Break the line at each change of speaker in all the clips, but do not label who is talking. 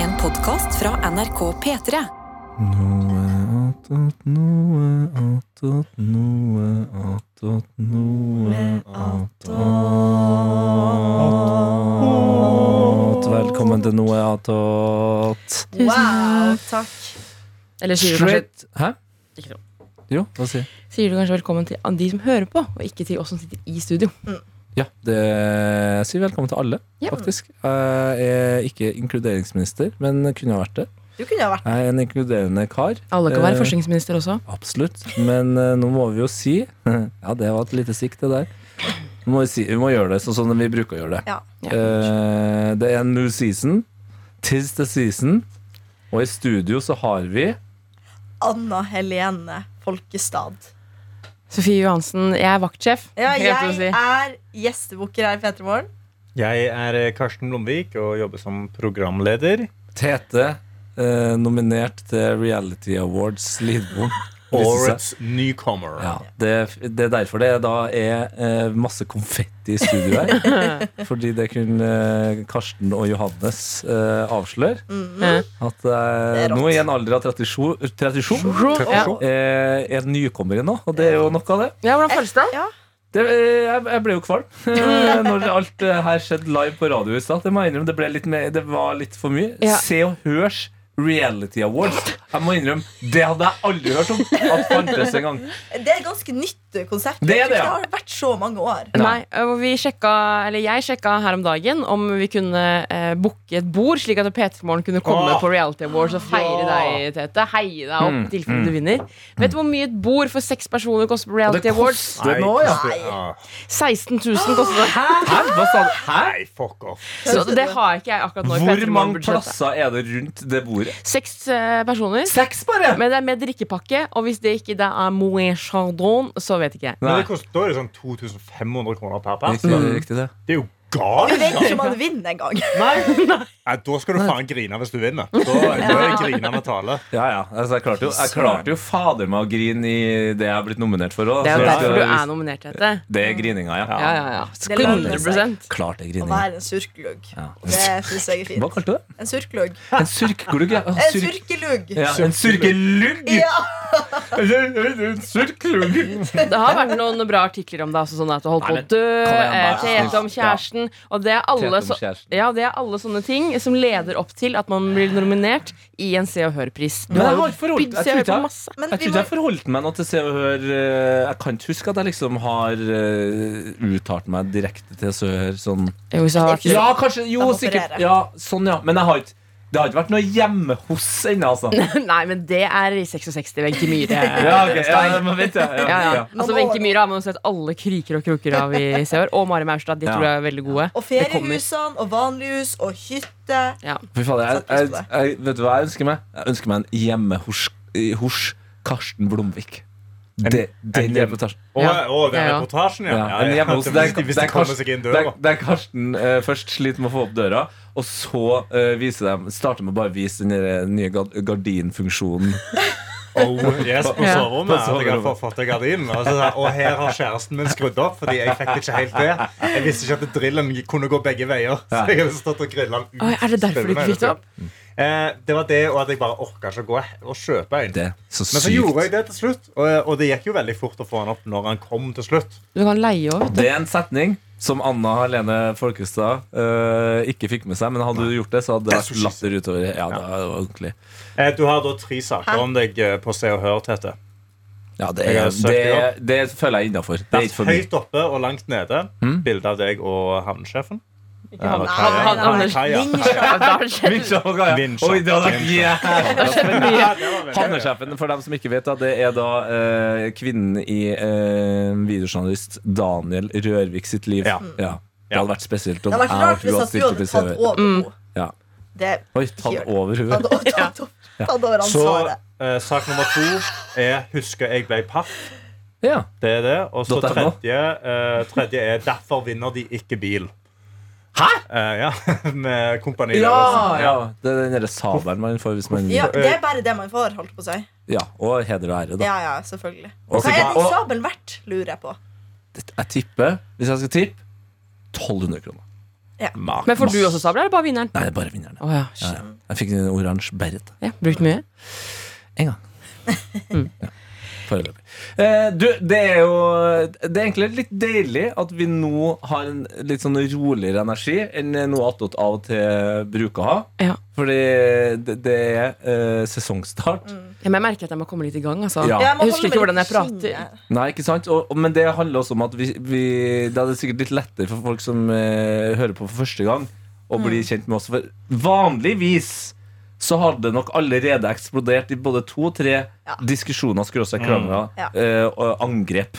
En podkast fra NRK P3.
Noe attåt, noe attåt, noe attåt, noe attåt. Velkommen til Noe attåt.
Wow, takk. Eller sier du, kanskje,
Straight Hæ?
Ikke noe.
Jo, hva sier jeg?
sier du kanskje velkommen til de som hører på, og ikke til oss som sitter i studio.
Ja, det jeg sier velkommen til alle,
Ja.
faktisk. Jeg er ikke inkluderingsminister, men kunne ha vært det.
Du kunne ha vært
Jeg er en inkluderende kar.
Alle kan
Eh,
være forskningsminister også.
Absolutt. Men eh, nå må vi jo si Ja, det var et lite sikt, det der. Nå må vi, si, vi må gjøre det sånn som vi bruker å gjøre det.
Ja.
Ja.
Eh, det er en new season. Tis the season. Og i studio så har vi
Anna Helene Folkestad.
Sofie Johansen, jeg er vaktsjef.
Ja,
helt til å si.
jeg er gjestebukker her i P3 Morgen.
Jeg er eh, Karsten Lomvik og jobber som programleder.
Tete, eh, nominert til Reality Awards Lidbom. Viste seg.
Årets newcomer.
Ja, det, det er derfor det da er eh, masse konfetti i studio her. fordi det kunne eh, Karsten og Johannes eh, avsløre.
Mm.
Eh,
At eh,
Det er rått.
nå i en alder av 37, 37
Ja.
eh, er nykommere nå, og det er jo noe av det.
ja, hvordan føles det?
Ja.
det eh, jeg, jeg ble jo kvalm eh, når alt det her skjedde live på radio i stad. Det må jeg innrømme, det, ble litt mer, det var litt for mye.
Ja.
Se og Hørs Reality Awards. Jeg må innrømme, det hadde jeg aldri hørt om at fantes en gang.
Det er et ganske nytt konsept.
Det er det,
Jeg
ja.
tror ikke det har vært så mange år.
Nei, eh, og vi sjekka, eller Jeg sjekka her om dagen om vi kunne eh, booke et bord, slik at P3morgen kunne komme
Åh.
på Reality Awards og feire deg, Tete. Heie deg opp i
Mm.
tilfelle du vinner. Vet du hvor mye et bord for seks personer koster på Reality Awards?
koster nå, ja.
ikke spør- ah,
16 000 koster det.
Hæ? Hva sa du? Hæ?
Nei, fuck off.
Så det har ikke jeg akkurat nå. i
Hvor
P3
mange
Morgen-budsjettet.
plasser er det rundt det bordet?
Seks eh, personer.
Seks, bare!
Men det er med drikkepakke, og hvis det ikke da er Moët Chandon, så vet ikke jeg.
Men
Nei.
det koster jo sånn 2500 kroner per pers.
Riktig, riktig det.
Det er jo
Du vet
galt!
ikke om han vinner engang.
Nei. Nei, da skal du faen grine hvis du vinner. Da, da er det grinende tale.
Ja, ja. Altså, jeg klarte jo, jeg klarte jo fader meg å grine i det jeg er blitt nominert for òg.
Det er jo
Så-
derfor du er nominert til dette.
Det er grininga, ja.
Ja, ja, ja.
Det lønner
100
Klart det er
Å
grininga.
være en surklugg.
Ja.
Det syns jeg er
Hva
fint.
kalte du det?
En surklugg.
En surkelugg, ja.
En surkelugg.
ja. En surkelugg!
Ja.
En surkelugg!
Det har vært noen bra artikler om det, altså sånn at du holdt på
Nei,
å
men-
dø,
Kom igjen,
eh,
bare
tete om
snill. Ja.
kjæresten, og det er alle så... Ja, det er alle sånne ting som leder opp til at man blir nominert i en Se og Hør-pris. Du
Men jeg
har jo
har forholdt
bydd
Jeg
Se
tror
og Hør
ikke
på
jeg
masse.
jeg
Men
tror
vi
ikke
må,
jeg forholdt meg nå til Se og Hør. eh, Jeg kan ikke huske at jeg liksom har eh, uttalt meg direkte til Se og Hør sånn
Jo, så har det vært...
Ja, kanskje,
Da
jo,
må
sikkert.
operere.
Ja, sånn, ja. Men jeg har ikke det har ikke vært noe hjemme hos ennå, altså.
Nei, men det er i 66 Wenche Myhre.
Ja, ok, ja, men vent, ja, ja,
Ja, ja.
ja.
Altså, Wenche Myhre har man jo sett alle kriker og kroker av i Se og Hør, og Mari Maurstad. De
Ja.
tror jeg er veldig gode.
og
Det kommer.
feriehusene og vanlighus og hytte.
Ja.
Fy fader, jeg,
Satt pris
jeg,
på det.
jeg, vet du hva jeg ønsker meg? Jeg ønsker meg en hjemme hos, i- hos Karsten Blomvik. Det, den
hjem-
reportasjen.
Å,
Ja.
å, den
Ja, ja.
reportasjen, ja.
Ja,
ja,
en
ja.
hjemme hos
Hvis
der,
de- Hvis de
der
kommer seg
Karsten,
inn
der,
døra.
der Karsten eh, først sliter med å få opp døra, og så eh, viser de, starter med å bare vise den der eh, nye gard- gardinfunksjonen.
Oh, yes, på
Ja.
På
soverommet. At jeg har
soverommet.
forfatt en gardin. Og, så, sa jeg, og her har kjæresten min skrudd opp, fordi jeg fikk det ikke helt til. Jeg visste ikke at drillen kunne gå begge veier. Så jeg hadde stått og grillet den ut.
Oi, er det derfor du ikke fikk det opp?
Eh, det var det, og at jeg bare orka ikke å gå og kjøpe en.
Det er så
Men så gjorde jeg
sykt.
det til slutt, og, og det gikk jo veldig fort å få han opp når han kom til slutt.
Du kan leie òg.
Det er en setning som Anna Helene Folkestad eh, ikke fikk med seg, men hadde du gjort det, så hadde det vært latter utover. Ja, det var ordentlig.
Eh, du har da tre saker
Hæ?
om deg eh, på Se og Hør, Tete.
Ja, det,
Jeg har
er,
søkt
det,
det
det føler jeg innafor. Det er ikke for mye. Mm.
Høyt oppe og langt nede. Bilde av deg og havnesjefen. Eller
havne-
kaia.
Nei, nei,
nei.
Kaia. Vinsja.
Oi, det hadde vært jævlig
Ja, det var veldig gøy.
Havnesjefen, for dem som ikke vet, da, det er da eh, kvinnen i eh, videojournalist Daniel Rørvik sitt liv.
Ja.
Det hadde vært spesielt om
Det hadde vært
jeg og
rart
hun
hvis
hadde
at du
stilt opp
hadde
i
tatt
CV.
over
Mm.
henne.
Ja.
Det
Oi, tatt
Gjør det.
over
tatt,
huet.
tatt, tatt, tatt over
Så
ansvaret.
eh, sak nummer to er 'Husker jeg ble paff'.
Ja.
Det er det. Og så
.no.
tredje, eh, tredje er 'Derfor vinner de ikke bil'.
Hæ?!
Eh, ja, Med Kompani
Ja,
Lauritzen.
ja! Det er den derre sabelen man får hvis man
Ja,
Ja,
det er bare det man får, holdt på å si.
og heder og ære, da.
Ja, ja, selvfølgelig.
Og
Hva er
sikkert-
den
og-
sabelen verdt, lurer jeg på.
Jeg tipper, hvis jeg skal tippe, 1200 kroner. Ma-
Men får du
masse-
også sabler, eller bare vinneren?
Nei, det er bare vinnerne.
Å ja,
Ja,
shit.
ja. Jeg fikk en oransje beret
Ja, brukt mye?
en gang. Ja, Foreløpig. Eh, du, det er jo Det er egentlig litt deilig at vi nå har en litt sånn roligere energi enn noe attåt av og til bruker å ha.
Ja.
Fordi det, det er eh, sesongstart.
Ja, Men jeg merker at jeg må komme litt i gang. Altså.
Ja.
Jeg
Jeg,
må holde
husker
meg
ikke hvordan
litt
jeg
på
prater.
skinnet.
Nei, ikke sant? Og, og, men det handler også om at vi, vi Da er det sikkert litt lettere for folk som eh, hører på for første gang, å
Mm.
bli kjent med oss. For vanligvis så hadde det nok allerede eksplodert i både to-tre
Ja.
diskusjoner, skråstrek krangler,
Mm.
Ja.
eh, og angrep.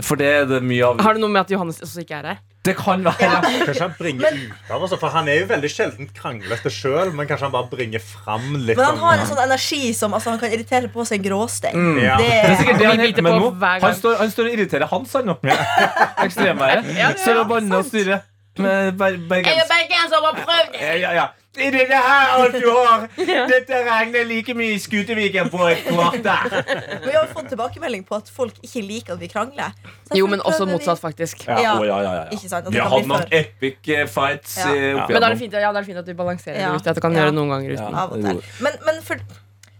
For det er det mye av.
Har det noe med at Johannes også ikke er her?
Det kan være
Kanskje han bringer ut av oss, for han er jo veldig sjelden kranglete sjøl, men kanskje han bare bringer fram litt
Men han
sånn-
har en sånn energi som altså, han kan irritere på seg en gråstein.
Ja.
Det,
Mm. Det er sikkert det
Vi
han
biter
hjelper med
på
nå.
hver gang.
Han står, han står og irriterer Hans, han nå. Ekstremværet.
Ja, det er
Står og banner og styrer. Med ber bergenser.
bergenser, bare prøv
Ja, Eh, ja, ja. Det er det her alt du har. Dette regner like mye i Skuteviken på et kvarter.
vi har fått tilbakemelding på at folk ikke liker at vi krangler. Så
Jo, men
derfor
også
prøver vi-
motsatt, faktisk.
Ja.
Å, ja, ja, ja, ja.
Ikke sant, at
Vi
det
har
kan
hatt
bli
noen
før.
epic eh, fights
Ja.
eh, opp
Men da er det
igjennom.
fint, ja, da er det fint at vi balanserer
Ja.
det ut. At du kan
Ja.
gjøre det noen ganger uten.
Ja.
Av og til. Men, men for,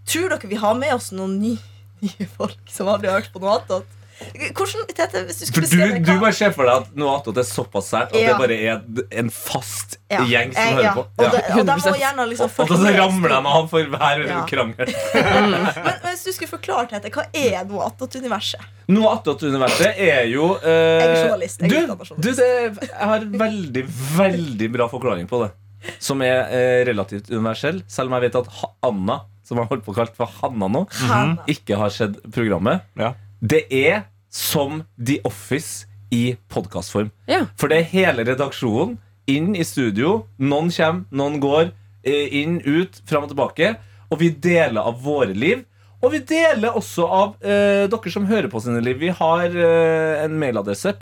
tror dere vi har med oss noen nye, nye folk som aldri har hørt på noe annet? Hvordan, Tete, hvis du
For
skulle
du,
beskrive
du
hva-
bare ser for deg at noe attåt er såpass sært at det
Ja.
bare er en fast
Ja.
gjeng
Eh,
som hører
ja.
på.
Og, det,
Ja.
og de må
100%.
gjerne liksom
Og så
forklare-
ramler de av for hver
Ja.
krangel.
Men men hvis du skulle forklart dette, hva er noe attåt-universet?
Noe attåt universet er jo eh,
Jeg er journalist, jeg er utdannet
du,
journalist.
du, det, jeg har en veldig, veldig bra forklaring på det. Som er eh, relativt universell, selv om jeg vet at ha Anna, som jeg holdt på å kalle for Hanna nå, Mhm.
Hanna.
ikke har sett programmet.
Ja.
Det er som The Office i podkastform.
Ja.
For det er hele redaksjonen inn i studio. Noen kommer, noen går. eh, Inn, ut, fram og tilbake. Og vi deler av våre liv. Og vi deler også av eh, dere som hører på sine liv. Vi har eh, en mailadresse.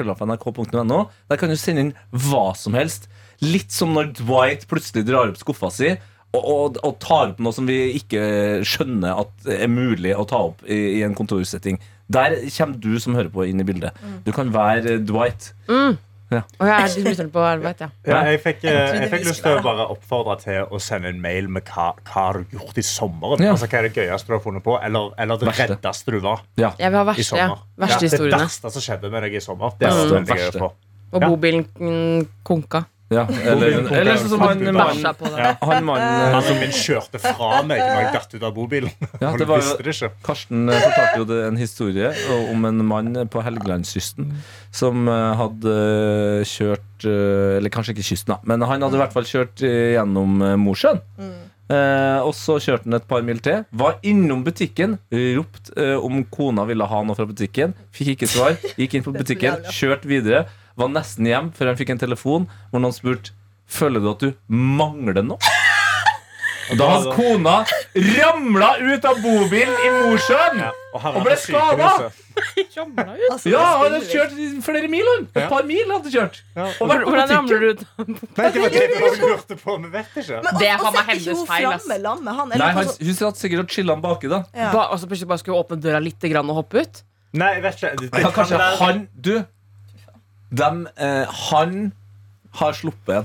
p3morgen.nrk.no. Der kan du sende inn hva som helst. Litt som når Dwight plutselig drar opp skuffa si og, og, og tar opp noe som vi ikke skjønner at er mulig å ta opp i, i en kontorsetting. Der kommer du som hører på, inn i bildet. Du kan være eh, Dwight.
Og jeg er dismisseren på arbeid, ja.
Ja, jeg fikk, eh,
trodde
jeg fikk
vi
lyst til
skulle
å bare oppfordre til å sende en mail med hva, hva har du gjort i sommeren.
Ja.
Altså, hva er det gøyeste du har funnet på, eller, eller det
Verste.
reddeste du var
Ja.
Jeg vil ha
i
verste, ja.
sommer.
Verste
Ja, det
historiene. Mm.
verste som skjedde med deg i sommer. Det er
Verste,
det veldig gøy
verste.
å få.
Og
Ja.
bobilen mm, konka.
Ja, eller, eller sånn som han
Bæsja
mannen
på det.
Ja.
han mannen,
Mannen min kjørte fra meg når jeg datt ut av bobilen.
Ja,
Og
det
du
var jo-
visste det ikke.
Karsten eh, fortalte jo det en historie om en mann eh, på Helgelandskysten som eh, hadde kjørt eh, Eller kanskje ikke kysten, da, men han hadde i hvert fall kjørt eh, gjennom eh, Mosjøen. Eh, og så kjørte han et par mil til. Var innom butikken, ropte eh, om kona ville ha noe fra butikken. Fikk ikke svar. Gikk inn på
Det er så
butikken,
jævlig.
kjørte videre. Var nesten hjem før han fikk en telefon hvor noen spurte Føler du at du mangler noe. Og Da hans kona ramla ut av bobilen i Mosjøen!
Ja, han
Og
var
ble
på sykehuset.
Altså,
Ja, han
det er
hadde
så
kjørt flere mil. han. Et
Ja.
par mil hadde han kjørt.
Ja.
Og vært på
Hvordan ramler
butikken.
du ut?
Nei, det var det jeg lurte på. Vi vet ikke.
Men,
Det er
og- og
faen meg
sitter ikke
hennes
hun
feil,
framme
ass.
lammet, han, eller
Nei,
hva
han,
så-
Hun satt sikkert og chilla han baki, da.
Ja.
Ba, og så plutselig bare skulle åpne døra litt grann og hoppe ut?
Nei, jeg vet ikke. Det, det
Ja,
kan
kanskje
være-
han Du, dem eh, Han har sluppet en.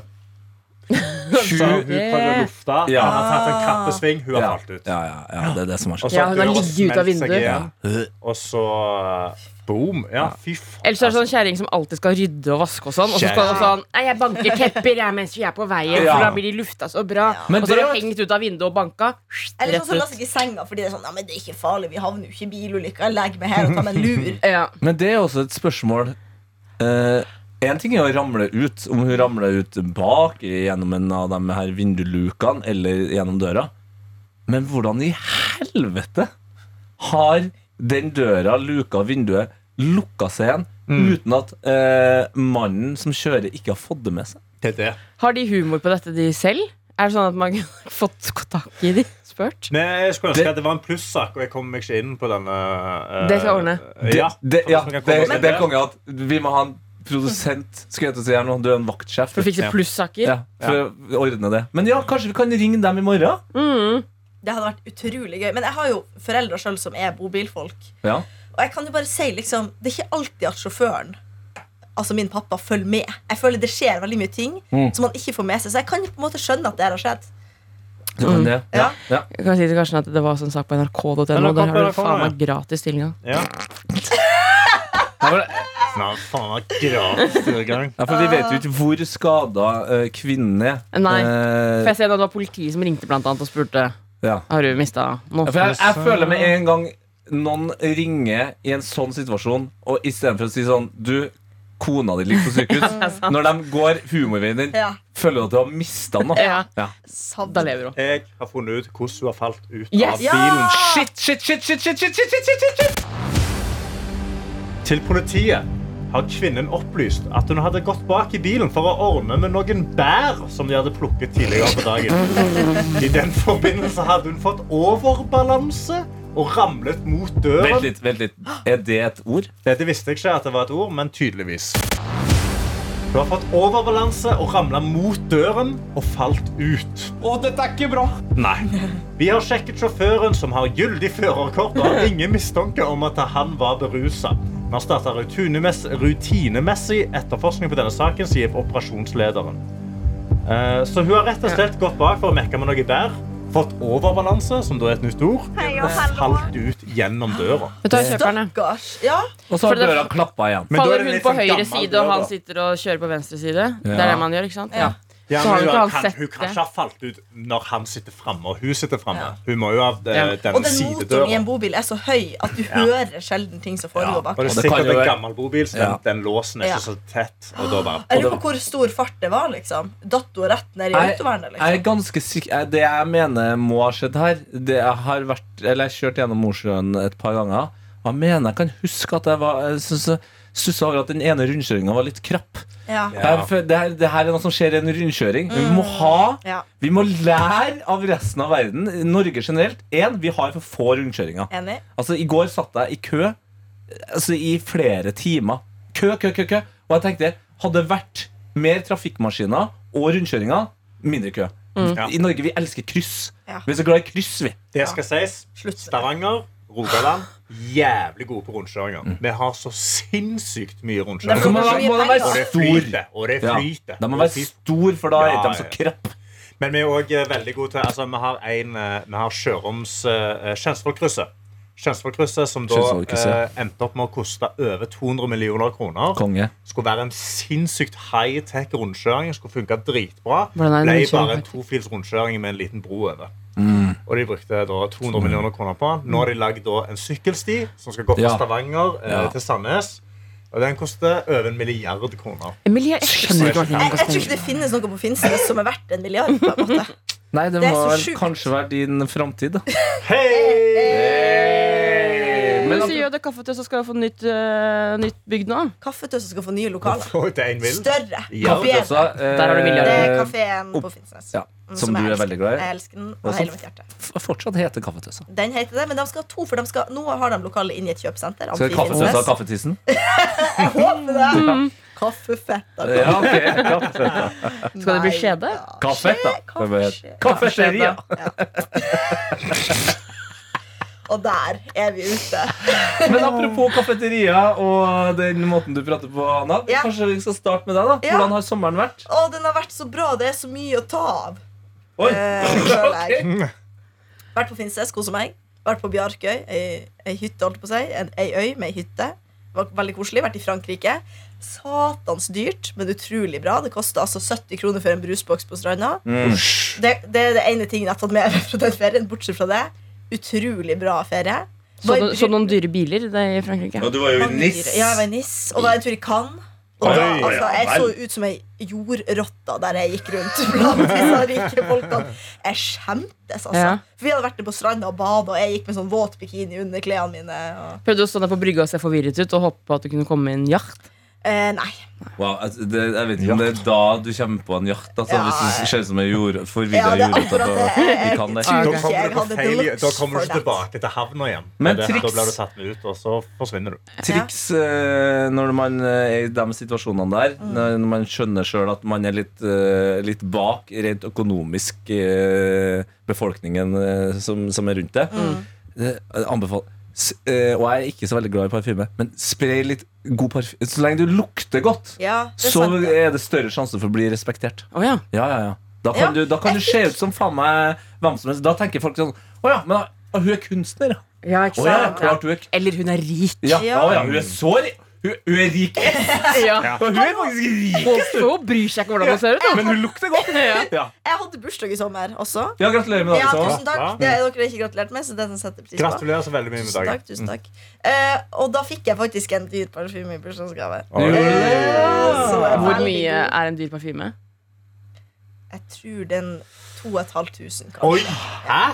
Så hun
Sju
prøvde å lufte.
Ja.
Han har tatt en kappesving. Hun har
ja,
falt ut.
ja, ja, ja, det er det som har skjedd.
Og så
Ja, hun
at
har
døra
ligget ut av
smelte seg
vinduet.
igjen,
Ja.
Og så eh, boom. Ja, fy faen. altså.
Ellers er det sånn kjerring som alltid skal rydde og vaske og sånn. Og så skal hun sånn Nei, jeg banker tepper jeg mens vi er på veien,
Ja.
for da blir de lufta så bra.
Men
Og så
det
har
er
hun
jo-
hengt ut av vinduet og banka.
Eller sånn
Rett
som la
ut.
seg i senga fordi det er sånn Nei, men det er ikke farlig, vi havner jo ikke i bilulykker. Jeg legger meg her og tar meg en lur.
Ja.
Men det er også et spørsmål Én ting er å ramle ut, om hun ramler ut bak gjennom en av de her vindulukene eller gjennom døra. Men hvordan i helvete har den døra, luka, vinduet lukka seg igjen uten at eh, mannen som kjører, ikke har fått det med seg?
Det er det.
Har de humor på dette, de selv? Er det sånn at man kunne fått tak i de? Spurt?
Men jeg skulle ønske
Det-
at det var en plussak, og jeg kom meg ikke inn på denne eh,
Det skal jeg ordne.
eh, Ja,
det,
for
ja, det,
hvis vi kan komme oss
det,
inn
er konge at vi må ha en produsent. Skulle jeg til å si her nå, du er en vaktsjef.
For å fikse
Ja.
plussaker?
Ja, for å ordne det. Men ja, kanskje vi kan ringe dem i morgen?
Mm.
Det hadde vært utrolig gøy. Men jeg har jo foreldre sjøl som er bobilfolk.
Ja
Og jeg kan jo bare si liksom Det er ikke alltid at sjåføren altså min pappa følger med. Jeg føler det skjer veldig mye ting
Mm.
som man ikke får med seg. Så jeg kan på en måte skjønne at det her har skjedd.
Du kan det. Ja.
Ja.
Ja.
Jeg kan si til Karsten at det var sånn sak på nrk.no. Der
NRK,
har du
NRK,
faen
ja.
meg gratis tilgang.
Ja.
Ja, for-
Snart faen meg gratis tilgang.
Ja, for Vi vet jo ikke hvor skada eh, kvinnen er.
Nei.
Eh,
For jeg ser at det var politiet som ringte blant annet og spurte
ja.
Har du mista
Ja,
noe.
for jeg, jeg føler med en gang noen ringer i en sånn situasjon, og istedenfor å si sånn Du, kona di ligger på sykehus. Når de går humorveien din,
Ja.
føler du at du har mista noe.
Ja.
Ja.
Savn.
Da lever hun.
Jeg har funnet ut hvordan hun har falt ut
Yes.
av bilen.
Shit, shit, shit, shit, shit, shit, shit, shit, shit, shit, shit.
Til politiet har kvinnen opplyst at hun hadde gått bak i bilen for å ordne med noen bær som de hadde plukket tidligere på dagen. I den forbindelse hadde hun fått overbalanse og ramlet mot
Vent
døren.
litt, vent litt. Er det et ord?
Dette visste jeg ikke at det var et ord, men tydeligvis. Hun har fått overbalanse og ramlet mot døren og falt ut.
Å, dette er ikke bra.
Nei. Vi har sjekket sjåføren, som har gyldig førerkort, og har ingen mistanke om at han var berusa. Vi har starta rutinemessig etterforskning på denne saken, sier operasjonslederen. Eh, Så hun har rett og slett gått bak for å mekke med noe bær, fått overbalanse, som da er et nytt ord, og falt ut gjennom døra.
Vi tar kjøperne.
Stakkars. Ja.
Og så har
For det-
døra klappa igjen.
Men da er
Faller
det
hun
litt
på
sånn
høyre
gammel
side, og
dør,
han
da.
sitter og kjører på venstre side? Det er det man gjør, ikke sant? Ja.
Ja,
Så har
men
jo
hun,
ikke han
kan,
sett
hun kan
det.
ikke ha falt ut når han sitter framme og hun sitter framme. Hun må jo ha
Ja.
eh,
Og
denne
den motoren i
sidedøra.
en bobil er så høy at du hører sjelden ting som
Ja,
foregår
og
bak.
det er
Og det kan
sikkert
jo
en
være-
gammel bobil, så den,
Ja.
den låsen er ikke
Ja.
så tett. Og da bare
Jeg lurer på hvor stor fart det var. liksom Datt hun rett ned i
Jeg-
autovernet?
Jeg
Liksom.
er ganske sikker jeg- Det jeg mener må ha skjedd her Det jeg har vært Eller jeg har kjørt gjennom Mosjøen et par ganger Og jeg mener jeg kan huske at jeg var Jeg synes- stusset over at den ene rundkjøringen var litt krapp
Ja.
Ja.
Jeg føler- det, her, det her er noe som skjer i en rundkjøring Vi må ha
Mm. Ja.
Vi må lære av resten av verden Norge generelt En, vi har for få rundkjøringer
Enig?
Altså, I går satt jeg i kø altså, i flere timer. Kø, kø, kø. kø Og jeg tenkte hadde det vært mer trafikkmaskiner og rundkjøringer, mindre kø.
Ja.
I Norge vi elsker kryss.
Mm. Ja.
Vi er så glad i kryss, vi.
Det skal sies.
Slutt.
Stavanger, Rogaland, jævlig gode på rundkjøringer. Vi har så sinnssykt
Det
mye
er
rundkjøringer.
for
må de
mange. penger.
være
Og det
stor.
flyter. Og det
Ja.
flyter.
De må
Og det
være
flyter.
stor, for da er
Ja,
ikke
ja,
de så
ja.
krapp.
Men vi er òg veldig gode til altså, Vi har, en, eh, vi har Sjøroms eh, Kjensvollkrysset. Kjensvollkrysset som da eh,
Kjensvollkrysset.
endte opp med å koste over 200 millioner kroner.
Konge.
Skulle være en sinnssykt high-tech rundkjøring. Skulle funke dritbra.
Hvordan er en
Ble
rundkjøring
bare en
faktisk?
tofils rundkjøring med en liten bro over.
Mm.
Og de brukte da 200 millioner kroner på den. Nå har de lagd da en sykkelsti som skal gå fra
Ja.
Stavanger eh,
Ja.
til Sandnes. Og den koster over en milliard kroner.
Emilie, jeg skjønner ikke hva
Jeg, jeg
tingene
tror ikke
koster.
det finnes noe på Finnsnes som er verdt en milliard. på en måte
Nei, det,
Det er
må
så
vel
sjukt.
kanskje være din framtid, da.
Hei!
Men
Men
så gjør det kaffe til, så skal du få nytt, øh, nytt bygg nå.
Kaffetøs som skal få nye lokaler.
Få ut en mill.
Større.
Ja,
bedre.
Kaffetøssa, eh,
Der har du
Det
milliarder.
er kafeen på Finnsnes.
Ja,
Mm,
som du
jeg
er
elsker.
veldig glad i.
Jeg elsker den
Og
av
som-
hele mitt hjerte.
f- Fortsatt heter Kaffetøssa.
Den heter det, men de skal ha to, for de skal, nå har de lokale inne i et kjøpesenter.
Så
Amfi
Kaffetøssa og
Finnsnes.
Kaffetissen?
Jeg håper det! Kaffefett. da.
Ja, ok. Kaffetøssa.
Skal det bli
Nei,
skjede?
da.
Kaffe, da.
Skje-
Det bør-
kaffe-
Kaffeteria.
Og der er vi ute.
Men apropos kafeteria og den måten du prater på, Anna.
Ja.
Kanskje vi skal starte med deg, da?
Ja.
Hvordan har sommeren vært?
Å, den har vært så bra. Det er så mye å ta av.
Oi!
Eh, føler jeg.
Ok.
Vært på Finnsnes, kosa meg. Vært på Bjarkøy, ei, ei hytte, holdt på å si. En, ei øy med ei hytte. Var veldig koselig. Vært i Frankrike. Satans dyrt, men utrolig bra. Det kosta altså 70 kroner for en brusboks på stranda.
Mm.
Det, det er det ene tingen jeg har tatt med meg fra den ferien. Bortsett fra det, utrolig bra ferie.
Så,
Var i
no- så
Bry-
noen dyre biler det, i Frankrike?
du var
Ja, jeg var i Nis, og da en tur i Cannes. Og da,
Oi,
altså, jeg
ja
så
vel.
ut som ei jordrotte der jeg gikk rundt blant disse rike folkene. Jeg skjemtes, altså.
Ja.
For vi hadde vært på stranda og bada, og jeg gikk med sånn våt bikini under klærne mine. Og,
Prøvde du å stå der på brygga og se forvirret ut og håpe på at du kunne komme med en yacht?
eh, nei.
Wow, altså, det, jeg vet ikke om det er da du kommer på en jakt. Altså,
Ja,
hvis du ser ut som en jord,
Ja,
forvirra
det er
jordrotta
akkurat
på
det.
i Cannes.
Ah,
Da
ok.
kommer
Jeg
du, på
hadde
feil,
deluxe
da kommer du
for
ikke tilbake til havna igjen.
Men
Det-
triks-
Da blir du tatt med ut, og så forsvinner du.
Triks eh, når man eh, er i de situasjonene der,
Mm.
når man skjønner sjøl at man er litt, eh, litt bak rent økonomisk
Mm.
eh, befolkningen eh, som, som er rundt det. Mm. Anbefal s- eh, og jeg er ikke så veldig glad i parfyme, men spray litt god parfyme. Så lenge du lukter godt,
Ja, det er
så
sant. det.
er det større sjanse for å bli respektert.
Å ja.
Ja, ja, ja. Da kan,
Ja,
du, da kan du se ut som faen meg hvem som helst. Da tenker folk sånn Å ja, men ah, hun er kunstner, ja.
Ja, ikke
Å ja,
sant?
klart hun er k-
Eller hun er rik.
ja, ja.
Ja.
Å, ja, hun er så ri- hun, hun er rik.
Ja.
Og hun er faktisk rik.
Folk så bryr seg ikke hvordan hun ser ut. da.
Men hun lukter godt.
Ja.
Ja,
Jeg hadde bursdag i sommer også.
ja gratulerer med dagen.
Ja,
Sara.
tusen takk.
Ja.
Det er dere ikke gratulert med, så det setter jeg pris på.
Gratulerer så veldig mye med
Tusen
dagen.
takk, tusen takk. Eh, og da fikk jeg faktisk en dyr parfyme i bursdagsgave.
Du gjorde det.
Så
Hvor
veldig
mye
god.
er en dyr parfyme?
Jeg tror den 2500, kanskje.
Oi! Hæ?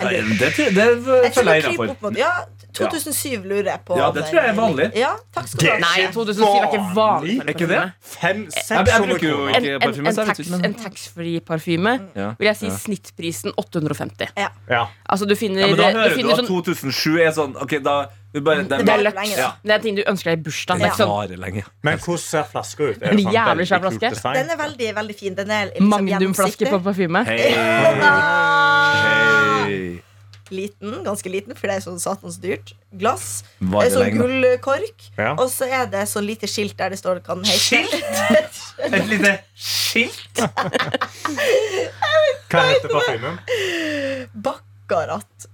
Nei, Det, tror- det
Jeg tror
følger jeg
det kryper
innafor.
opp mot Ja, 2007 lurer jeg på.
Ja, det tror jeg er vanlig.
Ja, takk skal du ha.
Nei, 2007 er ikke vanlig.
Vanlig?
for en
Er ikke
parfyme.
det?
Fem,
Jeg, jeg
600
bruker jo
kroner.
En,
ikke
en,
parfyme.
en,
så jeg vet
tax,
ikke, men-
en taxfree-parfyme
Ja.
vil jeg si
Ja.
snittprisen 850.
Ja.
Altså du finner,
Ja, men da
du
hører du
finner
at
sånn
2007 er sånn Ok, da du bare, det
Det
er
er
bare
løtt.
lett.
Ja.
Det er ting du ønsker deg i bursdag. Det er
Ja.
ikke sånn
Bare lenge.
Men hvordan ser flaska ut? Er
En
det sånn
jævlig svær
veldig kult
flaske.
design?
Den er veldig veldig fin. Den er liksom
magnumflaske på
gjennomsiktig.
parfyme.
Hei.
Ah!
Hei.
Liten, ganske liten, for det er sånn satans dyrt. Glass.
Varer
eh, sånn
lenge.
gullkork.
Ja.
Og så er det sånn lite skilt der det står hva den heter.
Et lite skilt?
Hva heter parfymen?
Baccarat.